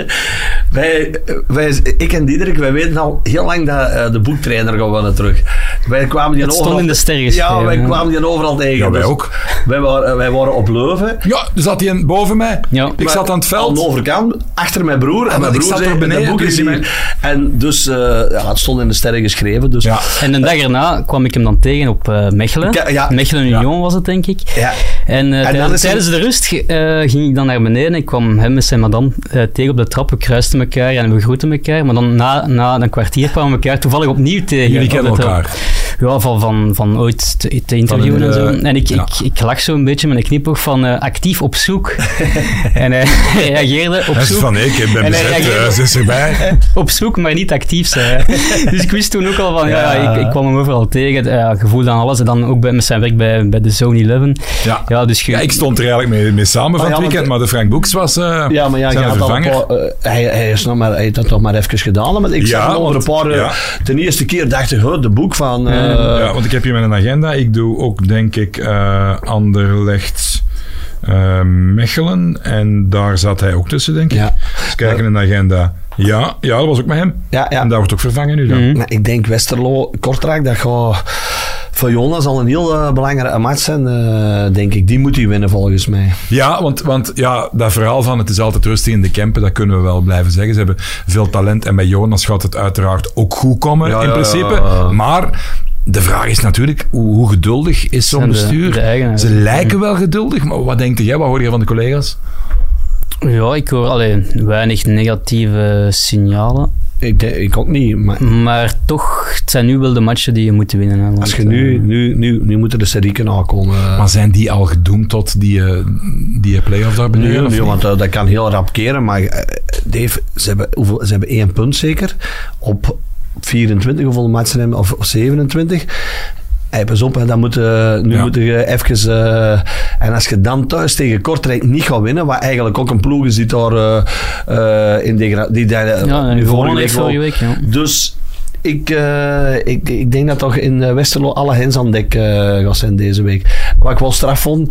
Wij, eh, wij, ik en Diederik, wij weten al heel lang dat eh, de boektrainer gaat wel terug. Wij kwamen die
Het stond
overal...
in de sterren geschreven,
Ja, wij
hè.
kwamen die overal tegen.
Ja, wij
Dus
ook.
Wij waren, wij waren op Leuven
Ja, er zat hij een- boven mij.
Ja.
Ik
Maar
zat aan het
Aan de
veld.
overkant, achter mijn broer. En
maar
mijn
ik
broer
zat
zei,
er beneden,
dat boek is
toen die
hier. En dus, eh, ja, het stond in de sterren geschreven. Dus,
Ja.
En een dag erna kwam ik hem dan tegen op eh, Mechelen.
Ja, ja.
Mechelen Union was het, denk ik.
Ja.
En, eh,
dan
tijdens,
is er-
tijdens de rust ge- eh, ging ik dan naar beneden. Ik kwam hem met zijn madame eh, tegen op de trap. We kruisten elkaar en we groeten elkaar. Maar dan na, na een kwartier kwamen we elkaar toevallig opnieuw tegen.
Jullie
op de
kennen
trap.
elkaar.
Ja, van, van, van ooit te, te interviewen
Van
en zo.
een, eh,
En ik,
ja.
ik, ik lag zo een beetje met een knipoog van eh, actief op zoek. en eh, hij reageerde op
Hij is
zoek.
van, ik ben
En hij
bezet,
reageerde-
eh, ze is erbij.
op zoek, maar niet actief zijn. hè. Dus ik wist toen ook al van, ja,
Ja.
ik, ik kwam hem overal tegen. Ja, gevoel aan alles. En dan ook bij, met zijn werk bij, bij de Zone 11.
Ja.
Ja, dus je-
Ja, ik stond er eigenlijk mee, mee samen van
ja,
het
want-
weekend, maar de Frank Boeks was eh
Ja, maar ja, je
zijn
had al een
vervanger.
paar, eh, hij, hij, is nog maar, hij heeft dat nog maar even gedaan. Maar ik
Ja,
zag nog een
want-
paar... eh,
ja.
Ten eerste keer dacht ik, huh, de boek van... eh,
ja, want ik heb hier mijn agenda. Ik doe ook, denk ik, eh, Anderlecht eh, Mechelen. En daar zat hij ook tussen, denk ik.
Ja.
Eens kijken in de agenda. Ja, ja, dat was ook met hem.
Ja, ja.
En daar wordt ook vervangen nu dan.
Mhm.
Maar ik denk Westerlo, Kortrijk, dat gaat voor Jonas al een heel eh, belangrijke match zijn, eh, denk ik. Die moet hij winnen volgens mij.
Ja, want, want ja, dat verhaal van het is altijd rustig in de Kempen, dat kunnen we wel blijven zeggen. Ze hebben veel talent en bij Jonas gaat het uiteraard ook goed komen,
Ja,
in
ja,
principe.
ja, ja.
Maar de vraag is natuurlijk, hoe, hoe geduldig is zo'n
Zijn de-
bestuur?
de eigenaar.
Ze lijken wel geduldig, maar wat denk jij? Wat hoor je van de collega's?
Ja, ik hoor alleen weinig negatieve signalen.
Ik, denk- ik ook niet, maar
Hm.
Maar toch, het zijn nu wel de matchen die je moet winnen. Hè, want,
als je nu,
eh,
nu, nu, nu moeten de Serieken aankomen.
Hm. Maar zijn die al gedoemd tot die, eh, die play-off daar beneden?
Nee,
of
nee,
niet?
want eh, dat, dat kan heel rap keren. Maar eh, Dave, ze hebben, hoeveel, ze hebben één punt zeker. Op 24 hoeveel matchen hebben of, of 27. Hey, pas op, hè, dan moet, eh, nu
Ja.
moet je even... eh, en als je dan thuis tegen Kortrijk niet gaat winnen, wat eigenlijk ook een ploeg is die daar eh, eh, in degra- die daar, eh,
ja, en
nu
vorige week,
wel-
vorige week ja.
Dus ik, eh, ik, ik denk dat toch in eh, Westerlo alle hens aan dek eh gaat zijn deze week. Wat ik wel straf vond,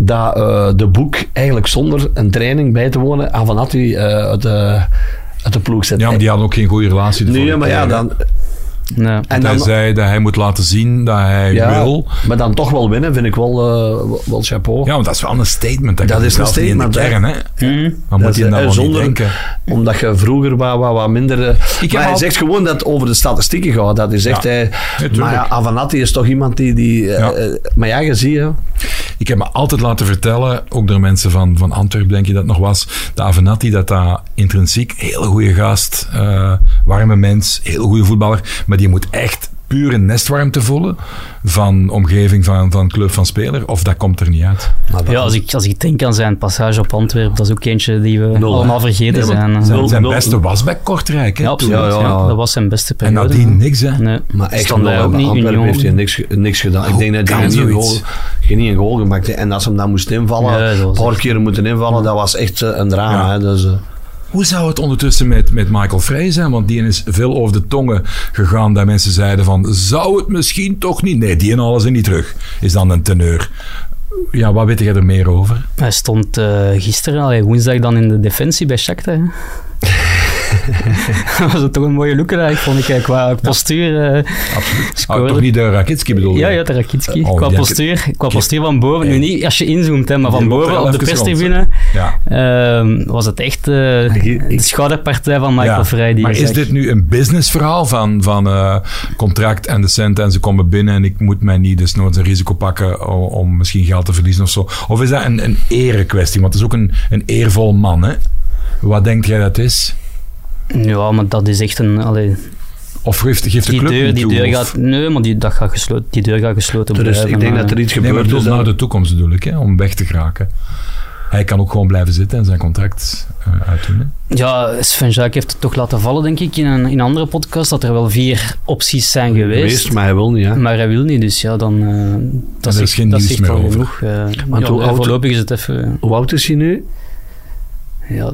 dat eh, de boek eigenlijk zonder een training bij te wonen, Avanati eh uit, de, uit de ploeg zet.
Ja, maar die hadden ook geen goede relatie. de
Nee,
vorige
maar ja,
keer, hè?
dan...
Nee.
En
hij
dan
zei dat hij moet laten zien dat hij
ja,
wil.
maar dan toch wel winnen, vind ik wel, eh, wel chapeau.
Ja, want dat is wel een statement. Dat,
Dat
kan
is
zelf
een
niet In de
statement,
kern, hè?
Mhm.
Maar
Dat
moet
is,
je
eh,
nou wel niet
zonder-
denken?
Omdat je vroeger wat, wat, wat minder... eh,
heb
maar hij
al-
zegt gewoon dat het over de statistieken gaat. Dat is echt...
Ja,
hij, eh, maar
tuurlijk.
ja, Avanati is toch iemand die... die eh,
Ja.
eh, maar ja, je ziet... Hè,
Ik heb me altijd laten vertellen, ook door mensen van, van Antwerpen, denk je dat nog was, de Avenatti, dat dat intrinsiek heel goede gast, eh, warme mens, heel goede voetballer, maar die moet echt pure nestwarmte voelen van omgeving van, van club van speler, of dat komt er niet uit.
maar dat-
Ja, als ik, als ik denk aan zijn passage op Antwerpen, dat is ook eentje die we
Nul, hè?
allemaal vergeten
Nee, want
zijn.
Zijn, zijn
nul-
beste was bij Kortrijk, hè,
Ja,
toen.
absoluut.
Ja,
Ja,
ja.
Dat was zijn beste
En
periode.
nadien niks, hè.
Nee.
Maar echt
Stond hij
wel,
ook
bij
niet
Antwerpen
union?
heeft hij niks, ge- niks gedaan. ik
Hoe
denk dat hij
kan
niet een, goal,
zoiets?
geen- niet een goal gemaakt heeft. En als hem dan moest invallen,
Ja, dat
een
was
paar
echt-
keer moeten invallen, dat was echt eh, een drama.
Ja.
Hè? Dus, eh,
Hoe zou het ondertussen met, met Michael Frey zijn? Want die is veel over de tongen gegaan. Dat mensen zeiden van, zou het misschien toch niet? Nee, die en alles en niet terug, is dan een teneur. Ja, wat weet jij er meer over? Ah,
Hij stond eh, gisteren, allee, woensdag dan in de defensie bij Shakhtar. hè. dat was toch een mooie look eigenlijk, vond ik. eh, Qua postuur. eh,
Absoluut.
Scoorde.
Ah, toch niet de Rakitski bedoel je?
ja, ja, de Rakitski.
Oh,
qua,
die-
postuur, qua postuur van boven. Nu
Hey.
niet als je inzoomt, hè, maar
Die
van
loopt
boven
wel
op de
even rond, hè.
perstribune
Ja.
ehm, was het echt eh, de schouderpartij van Michael
Ja.
Vrij. Die
maar
je
is
zag.
dit nu een businessverhaal van, van eh, contract en de cent en ze komen binnen en ik moet mij niet desnoods een risico pakken o- om misschien geld te verliezen of zo? Of is dat een, een erekwestie? Want het is ook een, een eervol man, hè? Wat denk jij dat is?
Ja, maar dat is echt een... allee,
Of geeft, geeft de
die
club
deur,
niet
die
toe,
deur
of-
gaat... Nee, maar die, dat gaat gesloten, die deur gaat gesloten
dus
blijven.
ik denk
maar-
dat er iets
Nee, maar dus
gebeurt.
ik
is
bedoel
dat-
naar de toekomst bedoel ik, hè, om weg te geraken. Hij kan ook gewoon blijven zitten en zijn contract eh uitdoen. hè.
Ja, Sven Jacques heeft het toch laten vallen, denk ik, in een, in een andere podcast, dat er wel vier opties zijn geweest.
geweest, maar hij wil niet. Hè?
Maar hij wil niet, dus ja, dan... eh dat
is
zegt-
geen
dat
nieuws
zegt
meer
al
over.
genoeg. eh,
Want
ja,
hoe
eh,
oud-
voorlopig is het even...
Hoe oud is hij nu?
eh, Ja,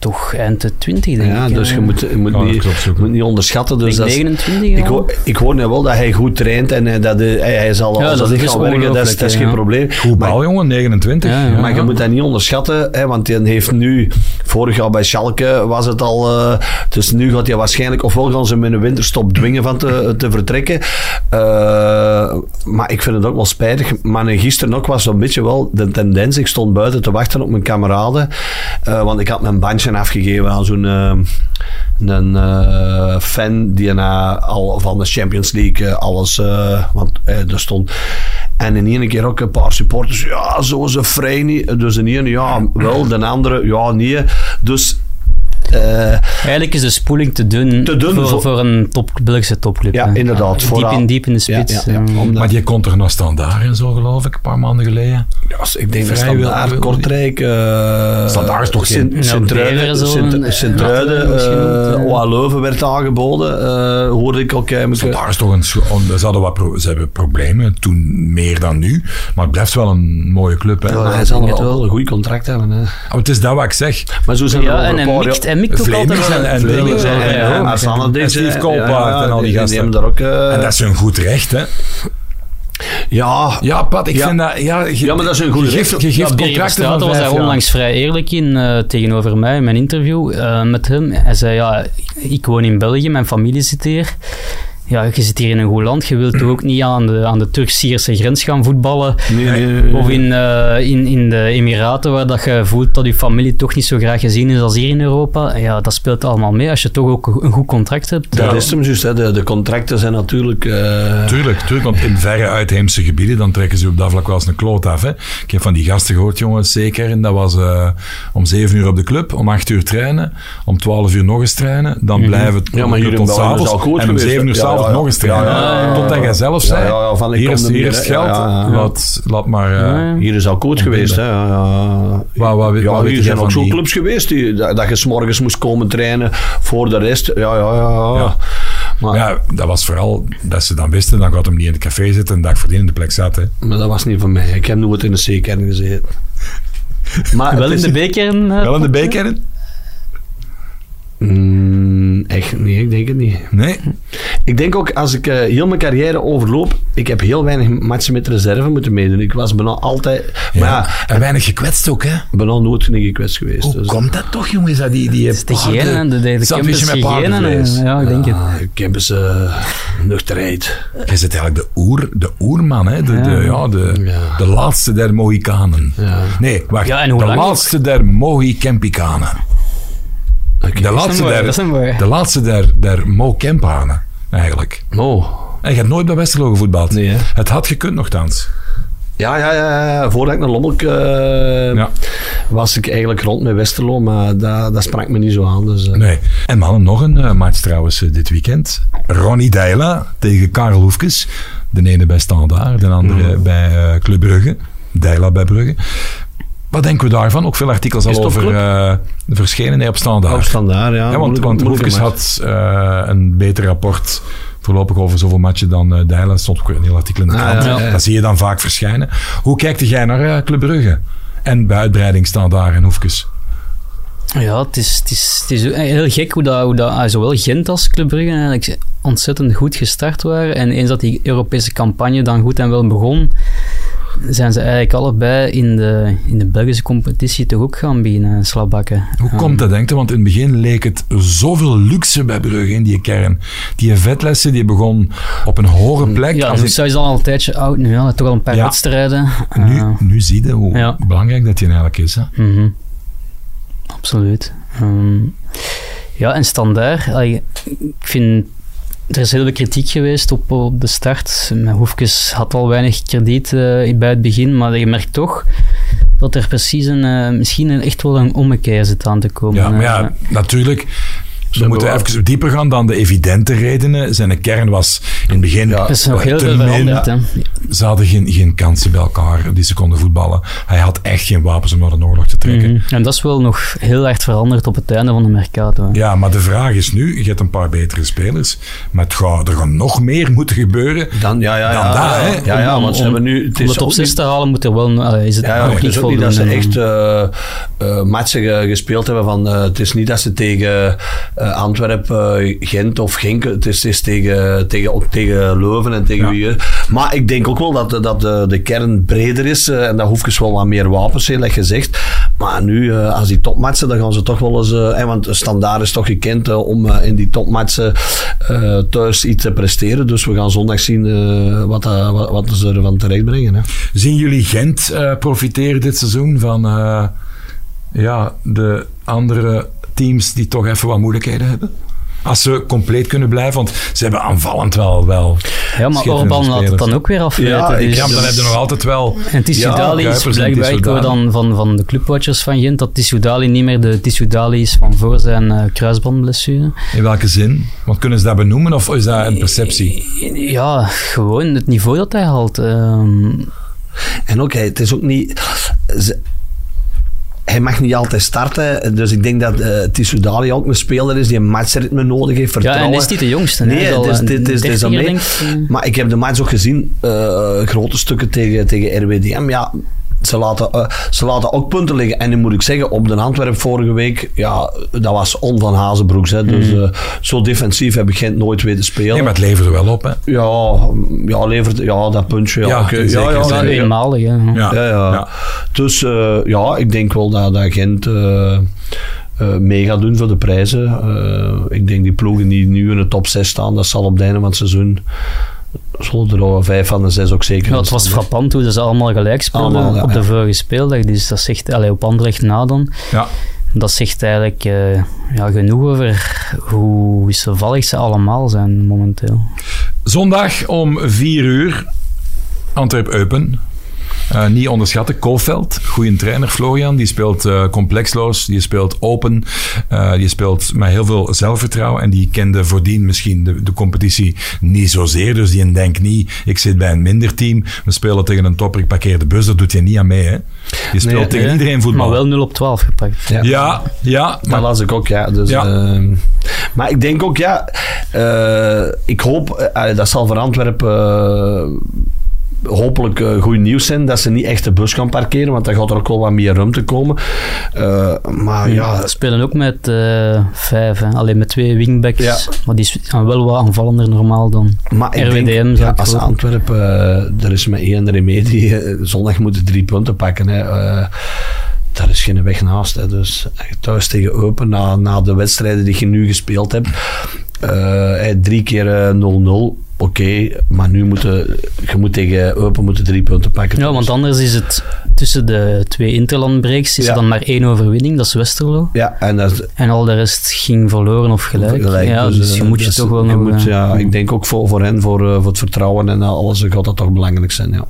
toch eind de 20, denk
Ja,
ik.
dus
eh.
je moet, je moet,
Kan ik
niet,
het opzoeken.
moet niet onderschatten.
Ik
Dus
denk
dat is-
29, ja.
Ik, hoor, ik hoor nu wel dat hij goed traint en eh, dat hij, hij, hij zal
Ja,
als
dat
dat
is
gaan werken, dat is, dat is
ongelooflijk,
geen
ja.
probleem.
Goed
Maar-
bal, jongen, 29.
Ja, ja.
Maar je moet dat niet onderschatten, hè, want hij heeft nu, vorig jaar bij Schalke was het al, eh, dus nu gaat hij waarschijnlijk, ofwel gaan ze hem in een winterstop dwingen van te, te vertrekken. Eh, maar ik vind het ook wel spijtig, maar in gisteren ook was zo'n beetje wel de tendens, ik stond buiten te wachten op mijn kameraden, eh, want ik had mijn bandje afgegeven aan zo'n... eh, een eh, fan die na al van de Champions League eh, alles, eh, want eh, er stond. En in ene keer ook een paar supporters, ja, zo is het vrij niet. Dus in ene, ja, wel, de andere, ja, nee. Dus, eh,
Eigenlijk is de spoeling te dun,
Te dun
voor,
voor-
voor een top, Belgische topclub.
ja,
hè.
inderdaad.
Diep
vooraan.
in, diep in de spits.
Ja, ja, ja,
eh.
omdat-
Maar je kon toch nog standaard en zo, geloof ik, een paar maanden geleden?
ja, ik denk dat
Vrij wil-
Standaard,
wil-
Kortrijk... eh,
Standaard is toch geen-
Sint- Sint-Truiden,
Beveren zo,
Sint-
eh,
Sint-Truiden,
misschien
eh,
moet, eh.
OA Leuven werd aangeboden, eh, hoorde ik ook. eh, misschien-
Daar is toch een... scho- on- Ze, hadden wat pro- ze hebben problemen, toen meer dan nu. Maar het blijft wel een mooie club, hè?
Ja,
Maar
hij zal wel een goed contract hebben. Hè.
het is dat wat ik zeg.
Maar zo zijn er
Ja,
over
en
een
hij
paar
mikt,
jaar-
hij mikt ook
Vlemings
altijd. wel.
en- en
Vlemings
Dingen zijn-
ja,
en-
ja.
en
Asana
En Steve
eh,
Koolpaard
ja,
en al die
die
gasten.
hebben daar ook... eh,
en dat is een goed recht, hè?
ja,
Ja, Pat, ik
Ja.
vind dat... Ja, je-
Ja, maar dat is een goed
je geeft-
recht.
Je geeft
Ja, Birger
contracten
Verstraeten
van
was daar
vijf jaar.
onlangs vrij eerlijk in eh, tegenover mij in mijn interview eh, met hem. Hij zei, ja, ik woon in België, mijn familie zit hier. ja, je zit hier in een goed land, je wilt toch ook niet aan de, aan de Turk-Sierse grens gaan voetballen.
Nee, nee, nee,
Of in, eh, in, in de Emiraten, waar dat je voelt dat je familie toch niet zo graag gezien is als hier in Europa. Ja, dat speelt allemaal mee als je toch ook een goed contract hebt.
Dat is hem juist. hè. De, de contracten zijn natuurlijk... eh,
Tuurlijk, tuurlijk, want in verre uitheemse gebieden, dan trekken ze op dat vlak wel eens een kloot af. Hè. Ik heb van die gasten gehoord, jongens, zeker. En dat was eh, om 7 uur op de club, om 8 uur trainen, om 12 uur nog eens trainen. Dan blijven het
Mhm. Ja, maar hier in
tot
België is het
s'avonds.
al goed
En om
geweest,
7 uur
hè.
s'avonds
Ja, ja,
nog eens
ja.
trainen.
Ja, ja, ja.
Totdat jij zelf
Ja,
zei,
ja, ja, van, ik
hier,
kom
is,
er
hier
niet
is het
meer, hè.
geld,
Ja, ja, ja.
Laat, laat maar... eh,
Ja, ja.
Hier is al koud geweest, hè. Ja, ja.
Waar- waar-
ja,
waar weet
hier
jij
zijn
van
ook zo'n
die-
clubs geweest die, dat, dat je s'morgens moest komen trainen voor de rest. Ja, ja, ja. ja.
Ja.
Maar,
Maar ja, dat was vooral dat ze dan wisten, dan gaat hem niet in het café zitten en dag verdien in de plek zaten.
maar dat was niet voor mij. Ik heb nooit in de C-kern gezeten. Maar het
Wel in
is-
de beker. eh,
Wel in de B-kern?
Mm, echt, nee, ik denk het niet.
Nee.
Ik denk ook, als ik eh, heel mijn carrière overloop, ik heb heel weinig matchen met reserve moeten meedoen. Ik was bijna altijd...
Ja.
Maar ja,
En weinig gekwetst ook, hè?
bijna nooit niet gekwetst geweest.
Hoe
dus-
komt dat toch, jongens? Dat die, die
Het is de hygiëne, de, de, de
Sandwichje
campus
met
hygiëne.
paardenvlees.
eh, Ja, ik denk het.
Ah, ik heb eens eh, nuchterheid.
Jij zit eigenlijk de, oer, de oerman, hè? De, de,
Ja.
ja, de,
Ja.
de laatste der Mohikanen.
Ja.
Nee, wacht.
Ja, en hoe
de
lang
laatste der Mohicampicanen.
Oké.
De laatste
mooie,
der,
dat is een mooie.
de laatste der, der Mokempanen, eigenlijk.
Oh.
En je hebt nooit bij Westerlo gevoetbald.
Nee, hè?
Het had gekund, nogthans.
Ja, ja, ja, ja. Voordat ik naar Lommelk eh,
Ja.
was ik eigenlijk rond met Westerlo, maar dat, dat sprak me niet zo aan. Dus, eh.
Nee. En mannen, nog een eh, match trouwens eh, dit weekend. Ronnie Deila tegen Karel Hoefkes. De ene bij Standaard, de andere
Mhm.
bij eh, Club Brugge. Deila bij Brugge. Wat denken we daarvan? Ook veel artikels
Is
al
het op
over
club?
eh verschenen nee, op
Op
Standaard.
standaard, ja.
Ja, want
Moeilijk-
want
moeilijke
Hoefkes
match.
had eh, een beter rapport voorlopig over zoveel matchen dan eh Deila. Er stond ook een heel artikel in de
Ah,
krant.
ja, ja.
Dat zie je dan vaak verschijnen. Hoe kijkt jij naar eh, Club Brugge? En bij uitbreiding Standaard en Hoefkes?
Ja, het is, het is, het is heel gek hoe, dat, hoe dat, ah, zowel Gent als Club Brugge eigenlijk ontzettend goed gestart waren. En eens dat die Europese campagne dan goed en wel begon, zijn ze eigenlijk allebei in de, in de Belgische competitie toch ook gaan beginnen slabakken.
Hoe komt dat, denk je? Want in het begin leek het zoveel luxe bij Brugge in die kern. Die vetlessen die begon op een hoge plek.
Ja,
Als
dus
in-
hij is dan al een tijdje oud nu, ja. toch al een paar
Ja.
wedstrijden.
nu,
Eh,
nu zie je hoe
Ja.
belangrijk dat hij eigenlijk is. Hè?
Mhm. Absoluut. Ehm, ja, en standaard. allee, Ik vind. Er is heel veel kritiek geweest op, op de start. Mijn Hoefkes had al weinig krediet eh, bij het begin, maar je merkt toch dat er precies een, eh, misschien een, echt wel een ommekeer zit aan te komen.
Ja, maar
Eh,
ja, natuurlijk. We
hebben
moeten
wel-
even dieper gaan dan de evidente redenen. Zijn kern was in het begin
Ja,
er is nog heel
te
veel
min.
veranderd. hè.
Ze hadden geen, geen kansen bij elkaar die ze konden voetballen. Hij had echt geen wapens om naar een oorlog te trekken.
eh,
Mhm. En dat is wel nog heel erg veranderd op het einde van de Mercato. hè.
Ja, maar de vraag is nu, je hebt een paar betere spelers, maar het gaat, er gaat nog meer moeten gebeuren
Dan, ja, ja,
Dan
ja.
daar, hè.
ja, ja, ja, want ze hebben nu... Het
Om
is
het op
ook niet-
6 te halen moet er wel... allee, is het
Ja, ja,
nog
het
niet
is ook niet dat ze
voldoende.
echt eh eh, matchen ge- gespeeld hebben. Van, eh, het is niet dat ze tegen eh, Antwerpen, eh, Gent of Genk, het is, het is tegen, tegen, ook tegen Leuven en tegen
Ja.
wie. eh. Maar ik denk ook wel dat, de- dat de, de kern breder is eh, en dat Hoefkes wel wat meer wapens heeft, like gezegd. Maar nu, eh, als die topmatchen, dan gaan ze toch wel eens... eh, eh, want Standaard is toch gekend eh, om eh, in die topmatchen eh, thuis iets te presteren. Dus we gaan zondag zien eh, wat, dat- wat, wat ze ervan terecht brengen. Hè.
Zien jullie Gent eh, profiteren dit seizoen van eh, ja, de andere teams die toch even wat moeilijkheden hebben? Als ze compleet kunnen blijven, want ze hebben aanvallend wel. wel
Ja, maar
schitterende
Orban laat het
spelers.
dan ook weer afweten.
Ja, ik-
dus-
Ja, maar dan heb je nog altijd wel.
En Tissoudali
Ja,
is
Kuipers en
blijkbaar, ik hoor
Tissoudali.
dan van, van de clubwatchers van Gent, dat Tissoudali niet meer de Tissoudali is van voor zijn eh, kruisbandblessure.
In welke zin? Want kunnen ze dat benoemen of is dat een perceptie?
Ja, gewoon het niveau dat hij haalt. ehm,
En ook, hij- het is ook niet... ze- hij mag niet altijd starten, dus ik denk dat eh Tissoudali ook een speler is die een matchritme nodig heeft,
ja,
vertrouwen.
en is niet de jongste.
Nee,
hè? Hij
het is-
al een
dit is- dit is al
dertiger,
mee.
denk ik. eh.
Maar ik heb de match ook gezien, eh, grote stukken tegen, tegen RWDM, ja... Ze laten, eh, ze laten ook punten liggen. En nu moet ik zeggen, op de Antwerp vorige week, ja, dat was On van Hazenbroeks. Hè. Dus
Hmm.
eh, zo defensief heb ik Gent nooit weten spelen.
Nee, maar het levert er wel op. Hè?
ja, ja, levert, ja, dat puntje. Ja,
Ja,
oké.
in zekere
Ja,
zin.
nee,
eenmalig. hè.
Ja.
Ja, ja.
Ja.
Dus eh, ja, ik denk wel dat, dat Gent eh, eh, mee gaat doen voor de prijzen. Eh, ik denk die ploegen die nu in de top 6 staan, dat zal op het einde van het seizoen zullen er al vijf van de zes ook zeker Dus
Ja,
in
het was
staan.
frappant hoe ze allemaal gelijk speelden
Allemaal, ja,
op
ja.
de vorige speeldag. Dus dat zegt, allee, op Anderlecht na dan,
Ja.
dat zegt eigenlijk eh, ja, genoeg over hoe wisselvallig ze allemaal zijn momenteel.
Zondag om 4 uur, Antwerp-Eupen. Eh, niet onderschatten, Koolveld, goede trainer Florian. Die speelt eh, complexloos, die speelt open, eh, die speelt met heel veel zelfvertrouwen. En die kende voordien misschien de, de competitie niet zozeer. Dus die denkt niet, ik zit bij een minder team, we spelen tegen een topper, ik parkeer de bus. Dat doet je niet aan mee, hè? Je speelt
Nee,
tegen
nee.
iedereen voetbal.
Maar wel 0 op 12 gepakt.
Ja.
Ja, ja.
Dat
Maar,
las ik ook, ja. Dus,
Ja.
ehm, maar ik denk ook, ja, eh, ik hoop, eh, allee, dat zal voor Antwerpen eh, hopelijk eh, goed nieuws zijn, dat ze niet echt de bus kan parkeren, want dan gaat er ook wel wat meer ruimte komen. Eh, maar ja,
Ze spelen ook met eh, vijf, hè. alleen met twee wingbacks.
Ja.
Maar die gaan wel wat aanvallender normaal dan.
maar ik
RWDM
denk,
zou
ja,
ik
als
geloven.
Antwerpen, eh, er is maar één remedie, eh, zondag moeten drie punten pakken. Hè. Eh, daar is geen weg naast. Hè. Dus eh, thuis tegen Open, na, na de wedstrijden die je nu gespeeld hebt, eh, hè, drie keer eh, 0-0. Oké, maar nu moeten je moet tegen Open moeten drie punten pakken.
Ja, want anders is het tussen de twee interlandbreaks is
Ja.
er dan maar één overwinning, dat is Westerlo.
ja, en dat,
En al de rest ging verloren of gelijk.
Gelijk,
ja, dus,
eh,
je moet je
dus
toch wel nog...
moet,
eh,
ja, Ik denk ook voor, voor hen, voor, eh, voor het vertrouwen en alles, gaat dat toch belangrijk zijn. Ja.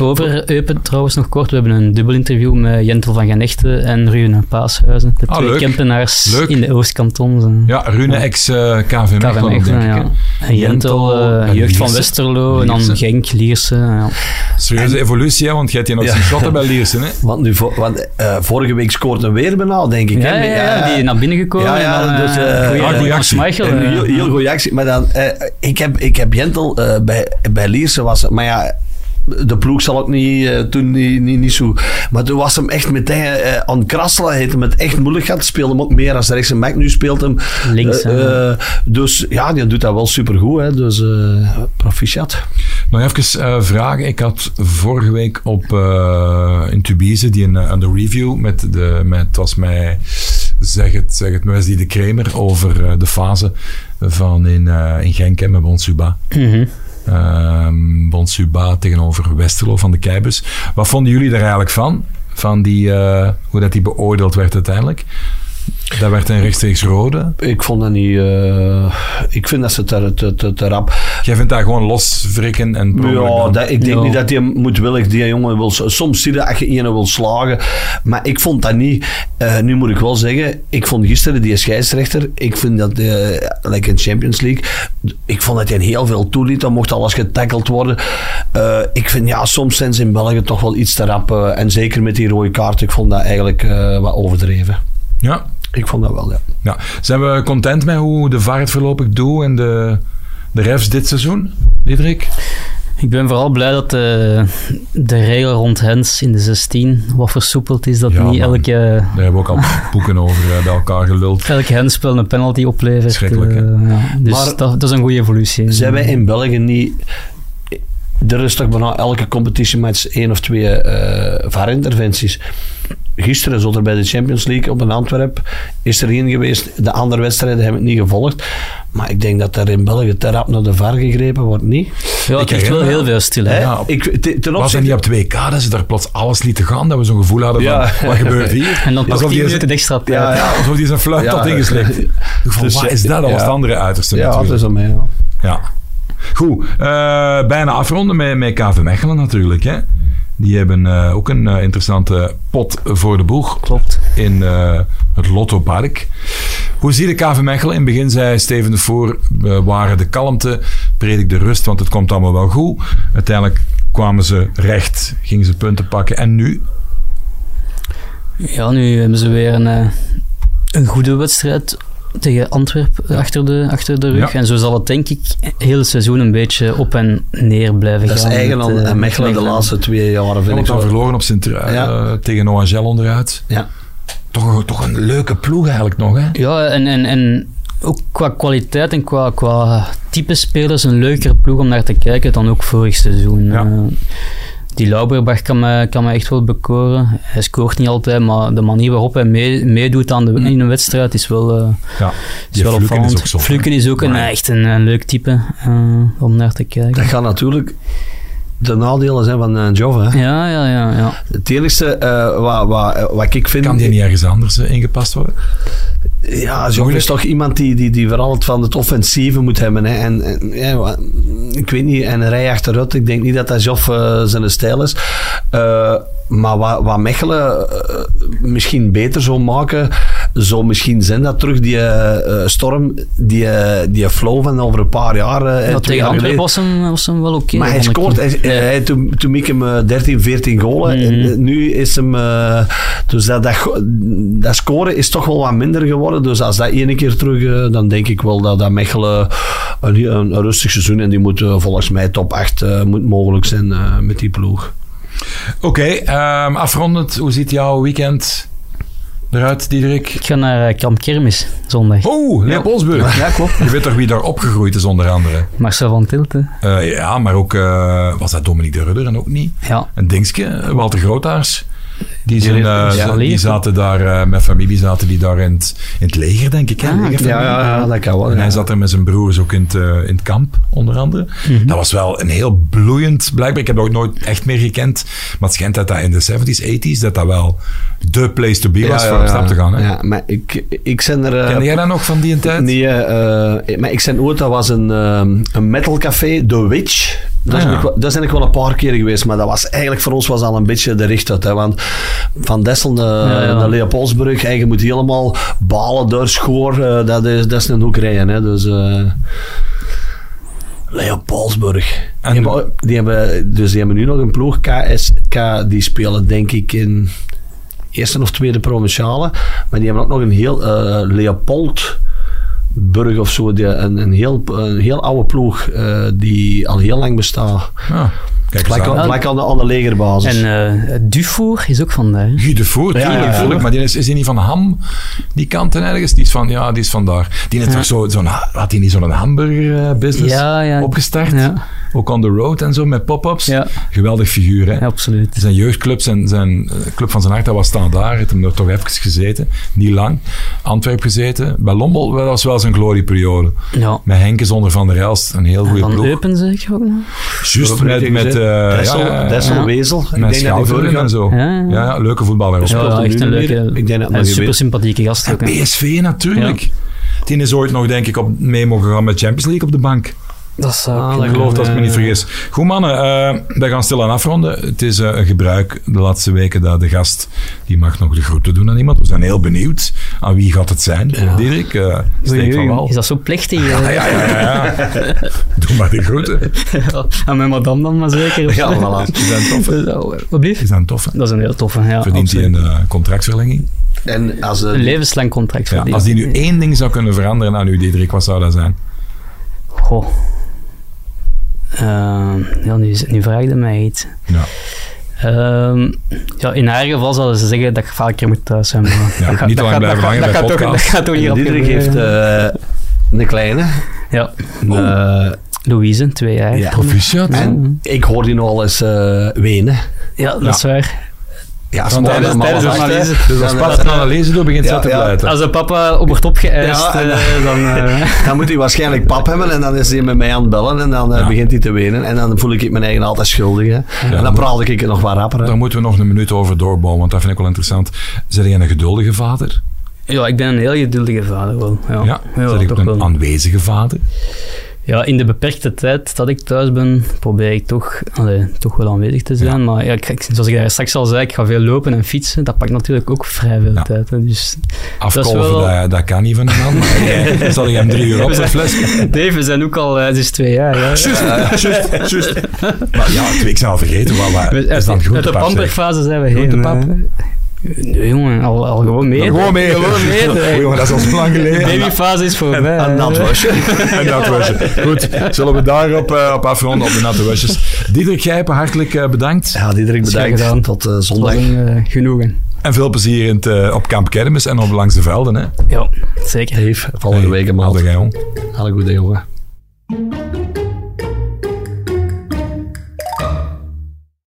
Over Eupen trouwens nog kort. We hebben een dubbel interview met Jentel van Genechten en Rune Paashuizen. De
Ah,
twee
leuk.
Kempenaars
Leuk.
in de Oostkantons. eh,
ja, Rune eh,
Ja.
ex-KV
KVM
Mechelen, denk ik.
Mechelen,
hè.
ja. En Jentel,
Jentel,
eh,
en
jeugd van
Lierse.
Westerlo. En dan
Lierse.
Genk, Lierse. Ja.
Serieuze evolutie, hè? want jij hebt je nog
Ja.
zien shotten bij Liersen, hè?
Want, nu, vo- want eh, vorige week scoorde weer bijna, denk ik. hè?
Ja, ja, ja, die naar binnen gekomen.
Ja, ja,
en dan, eh,
dus, eh,
goeie-
ah, goeie
Jan
actie.
Schmeichel,
En
eh,
heel, heel goede actie. Maar dan, eh, ik, heb, ik heb Jentel eh, bij, bij Lierse was. het- Maar ja, de ploeg zal ook niet, eh, toen niet, niet, niet zo. Maar toen was hem echt meteen eh, aan het krasselen. Heeft hem het echt moeilijk gehad. Speelde hem ook meer als rechts en Mac. Nu speelt hem
Links,
eh,
hè.
eh, dus ja, die doet dat wel supergoed. Hè. Dus eh, proficiat.
Nog even eh, vragen. Ik had vorige week op eh, in Tubize die een, eh, aan de review met de met het was mij zeg het zeg het Wesley de Kramer over eh, de fase van in, eh, in Genk hè, met Bonsuba.
mhm.
Ehm Bonsuba tegenover Westerlo van de Keibus. Wat vonden jullie daar eigenlijk van? Van die eh, hoe dat die beoordeeld werd uiteindelijk? Dat werd een rechtstreeks rode.
Ik vond dat niet. eh, ik vind dat ze te, te, te, te rap.
Jij vindt daar gewoon los wrikken en per ongeluk
Ja,
dan-
dat, ik denk
Ja.
niet dat hij moedwillig die jongen wil... s- Soms zie je dat je ene wil slagen, maar ik vond dat niet... Eh, nu moet ik wel zeggen, ik vond gisteren die scheidsrechter, ik vind dat, eh like in Champions League, ik vond dat hij heel veel toeliet, dan mocht alles getackeld worden. Eh, ik vind, ja, soms zijn ze in België toch wel iets te rap, eh, en zeker met die rode kaart, ik vond dat eigenlijk eh, wat overdreven.
ja.
Ik vond dat wel, ja.
Ja. Zijn we content met hoe de vaart voorlopig doet en de, de refs dit seizoen, Diederik?
Ik ben vooral blij dat de, de regel rond Hens in de 16 wat versoepeld is. Dat
Ja,
niet
man.
elke,
Daar hebben we ook al boeken over eh, bij elkaar geluld.
elk Hens-spel een penalty oplevert.
Schrikkelijk, hè?
Eh, ja. Dus
Maar-
dat, dat is een goede evolutie.
Zijn wij in België niet... Er is toch bijna elke competitiematch één of twee eh VAR-interventies. Gisteren zat er bij de Champions League op een Antwerp. Is er één geweest. De andere wedstrijden hebben het niet gevolgd. Maar ik denk dat er in België te rap naar de VAR gegrepen wordt, niet?
Ja,
Ik
het ligt wel
herinner-
heel veel stil.
Hè?
Hè?
Ja.
ik, te- ten
Was dat
opzichte...
niet op 2K dat ze daar plots alles lieten gaan? Dat we zo'n gevoel hadden van,
Ja.
wat gebeurt hier?
En dan
Alsof
toch 10
die-
minuten extra tijd.
Ja,
Ja, alsof die zijn fluit
Ja.
had ingeslikt. Ik vond,
Dus,
wat is dat? Dat was
ja.
het andere uiterste
Ja, dus- dat
natuurlijk.
is aan mij. Ja.
Ja. Goed, eh, bijna afronden met, met KV Mechelen natuurlijk. Hè? Die hebben eh, ook een eh, interessante pot voor de boeg.
Klopt.
in eh, het Lotto Park. Hoe zie je de KV Mechelen? In het begin zei Steven de Voer, eh, waren de kalmte, predik de rust, want het komt allemaal wel goed. Uiteindelijk kwamen ze recht, gingen ze punten pakken. En nu?
Ja, nu hebben ze weer een, eh, een goede wedstrijd tegen Antwerpen achter, de, achter de rug.
Ja.
En zo zal het denk ik heel het seizoen een beetje op en neer blijven
Dat is
gaan.
eigenlijk
met,
al
eh,
aan Mechelen de laatste twee jaren, vind ik
Ze
zo.
verloren op Sint eh, tegen OHL onderuit.
Ja.
Toch, een- toch een leuke ploeg eigenlijk nog, hè?
Ja, en, en, en ook qua kwaliteit en qua, qua type spelers een leukere ploeg om naar te kijken dan ook vorig seizoen.
Ja.
Eh, die Lauberbach kan mij, kan mij echt wel bekoren. Hij scoort niet altijd, maar de manier waarop hij mee- meedoet aan de, in een wedstrijd is wel, eh
Ja,
is
die
wel
Fluken
opvallend.
is ook zo. hè?
Fluken is ook een, echt een, een leuk type eh, om naar te kijken.
Dat gaat natuurlijk de nadelen zijn van een job. Hè.
Ja, ja, ja. ja.
Het enige eh, wat, wat, wat ik vind...
Kan die niet ergens anders eh, ingepast worden?
Ja, Job
Moeilijk.
is toch iemand die, die, die vooral het van het offensieve moet hebben. Hè. En, en, ja, wa- ik weet niet, en een rij achteruit. Ik denk niet dat dat Joff eh, zijn stijl is. Eh, maar wat, wat Mechelen eh, misschien beter zou maken, zou misschien zijn dat terug die eh, storm, die, eh, die flow van over een paar jaar. eh, twee
Ja, tegen
jaar
Antwerpen
geleden.
was hem, was hem wel oké.
Maar hij
vond ik.
scoort. Hij, eh, hij- toen, toen miek hem eh, 13, 14 golen. En,
Mhm.
eh, nu is hem... eh, dus dat, dat, go- dat scoren is toch wel wat minder geworden. Dus als dat ene keer terug... eh, dan denk ik wel dat, dat Mechelen een, een, een rustig seizoen... En die moet eh, volgens mij top 8 eh, moet mogelijk zijn eh, met die ploeg.
Oké, ehm, afrondend, hoe ziet jouw weekend eruit, Diederik?
Ik ga naar eh, Kamp Kermis zondag.
Oh, Leopoldsburg.
Ja, klopt.
Je weet toch wie daar opgegroeid is, onder andere?
Marcel van Tilten.
Eh, ja, maar ook, eh, was dat Dominique de Rudder en ook niet?
Ja,
Een Dingske, eh, Walter Grootaars. Die, zijn,
leeft-
eh,
ja,
die
leeft.
zaten daar, eh, met familie zaten die daar in het, in het leger, denk ik. Hè?
Ah,
Legerfamilie.
Ja, ja, ja, dat kan wel.
En
ja.
hij zat er met zijn broers ook in het, eh, in het kamp, onder andere. Dat was wel een heel bloeiend... Blijkbaar, ik heb dat ook nooit echt meer gekend. Maar het schijnt dat dat in de 70s, 80s... dat dat wel de place to be was voor op stap te gaan. Hè?
Ja, maar ik, ik zijn er... eh,
Ken jij dat nog van die tijd?
Nee, eh, eh, maar ik zijn ooit, dat was een, ehm, een metalcafé, The Witch. Daar,
Ah,
zijn
ja.
ik, wel- daar zijn ik wel een paar keer geweest, maar dat was eigenlijk voor ons was al een beetje de richtuit. Hè, want van Dessel naar,
Ja, ja.
naar Leopoldsbrug, hè, je moet helemaal balen door schoor, eh, dat, is, dat is een hoek rijden. Hè, dus, eh, Leopoldsburg.
En-
Die hebben, die hebben, dus die hebben nu nog een ploeg, KSK, die spelen denk ik in eerste of tweede provinciale. Maar die hebben ook nog een heel eh, Leopoldburg of zo, die, een, een, heel, een heel oude ploeg eh, die al heel lang bestaat.
Ah, kijk eens
Gelijk
aan.
aan, gelijk aan de, aan de legerbasis.
en eh Dufour is ook van daar. hè?
Guy de Voer,
Ja,
tuurlijk,
ja, ja.
tuurlijk. Maar die is, is die niet van Ham, die kant en ergens? Die is van, ja, die is van daar. Die heeft toch zo, zo'n, had hij niet zo'n hamburger-business
Ja, ja.
opgestart?
Ja.
Ook on the road en zo, met pop-ups.
Ja.
Geweldig figuur, hè?
Ja, absoluut.
Zijn jeugdclub, zijn, zijn eh, club van zijn hart, dat was staan daar. Heeft hem er toch even gezeten. Niet lang. Antwerp gezeten. Bij Lommel dat was wel zijn glorieperiode.
Ja.
Met Henke zonder Van der Elst. Een heel goede
Van
ploeg.
Eupen zeg ik ook nog.
Juist met... met eh,
Dessel,
ja, ja,
Dessel
Ja.
Wezel.
Met
Ik denk dat die
Schouten
vorige
en zo.
Ja,
Ja,
ja.
ja, leuke voetballer. was
Ja,
dat.
speelt er
echt
nu
een
niet meer.
leuke.
Ik denk dat het
en
nog
een
niet
super
weet.
sympathieke gast ook. hè.
PSV natuurlijk. Die is ooit nog, denk ik, op, mee mogen gaan met Champions League op de bank.
Dat zou
Ah, dat
Ik
kunnen.
geloof dat ik me niet
Eh.
vergis. Goed mannen, eh, wij gaan stilaan afronden. Het is eh, een gebruik de laatste weken dat de gast, die mag nog de groeten doen aan iemand. We zijn heel benieuwd aan wie gaat het zijn. Dirk, eh, steek van wal.
Is dat zo plechtig? eh?
Ja, ja, ja, ja. Doe maar de groeten.
eh, Aan mijn madame dan maar zeker. of
Ja,
zo.
voilà.
Die zijn tof. hè?
Ja, Wat blieft?
Die zijn tof. hè?
Dat is een heel toffe. Ja,
Verdient hij
absoluut.
een eh, contractverlenging?
En als eh,
Een levenslang contract Eh,
Ja,
verdient.
als die nu één ding zou kunnen veranderen aan u, Diederik, wat zou dat zijn?
Goh. Ehm, ja, nu, nu vraag je mij iets.
Ja.
Ehm, ja, in haar geval zouden ze zeggen dat ik vaker moet thuis zijn. Maar
Ja,
dat gaat-
niet te lang
dat gaat-
blijven hangen
dat
bij
gaat toch- Dat
podcasts.
gaat toch niet
Diederik
afgebeuren.
heeft eh, een kleine.
Ja, Oh.
eh,
Louise, twee jaar.
Ja.
Proficiat.
en ik hoor die nogal eens eh, wenen.
Ja, dat
Ja.
is waar.
Ja,
Want tijdens- tijdens de analyse-
Dus
Als pas een analyse door begint ze
Ja,
te
ja.
pleiten.
Als de papa op wordt opgeëist,
Ja, en,
eh, dan... eh,
Dan moet hij waarschijnlijk pap hebben en dan is hij met mij aan het bellen en dan eh,
Ja.
begint hij te wenen. En dan voel ik me mijn eigen altijd schuldig. Hè. en
maar-
dan praal ik het nog wat rapper. hè.
Daar moeten we nog een minuut over doorbomen, want dat vind ik wel interessant. Zijn jij een geduldige vader?
ja, ik ben een heel geduldige vader wel. Ja,
Ja. Zijn jij
toch
een
wel.
aanwezige vader?
Ja, in de beperkte tijd dat ik thuis ben, probeer ik toch, allee, toch wel aanwezig te zijn. Maar ja, ik- ik- zoals ik daar straks al zei, ik ga veel lopen en fietsen. Dat pakt natuurlijk ook vrij veel
Ja.
tijd. Hè, dus
Afkolven, dat,
wel-
dat kan niet van een man. Maar jij- zal je hem drie uur op zijn fles?
Dave, we zijn ook al, eh, het is twee jaar. Ja.
Juist, juist, juist. Maar ja, ik- ik zou al vergeten, wat, wat is
We-
dan
uit, uit de
groentepap? zeg?
pamperfase zijn we heen.
Groentepap?
hè. Nee, jongen, al, al gewoon mee.
Gewoon mee.
Gewoon mee, hè.
O, jongen, dat is al zo lang
De
geleden.
babyfase is voorbij. eh,
En
hè.
dat was je.
En dat was het. Goed, zullen we daarop eh, op afronden, op de natte wasjes. Diederik Gijpen, hartelijk eh, bedankt.
Ja, Diederik,
Is graag
bedankt.
gedaan.
Tot eh,
Dat
zondag.
was een eh, genoegen.
En veel plezier in het, eh, op Kamp Kermis en op Langs de Velden. Hè.
Ja, zeker.
Dave, volgende
Hey,
week een
Hadden
maand.
jij, jong.
Alle goede jongen.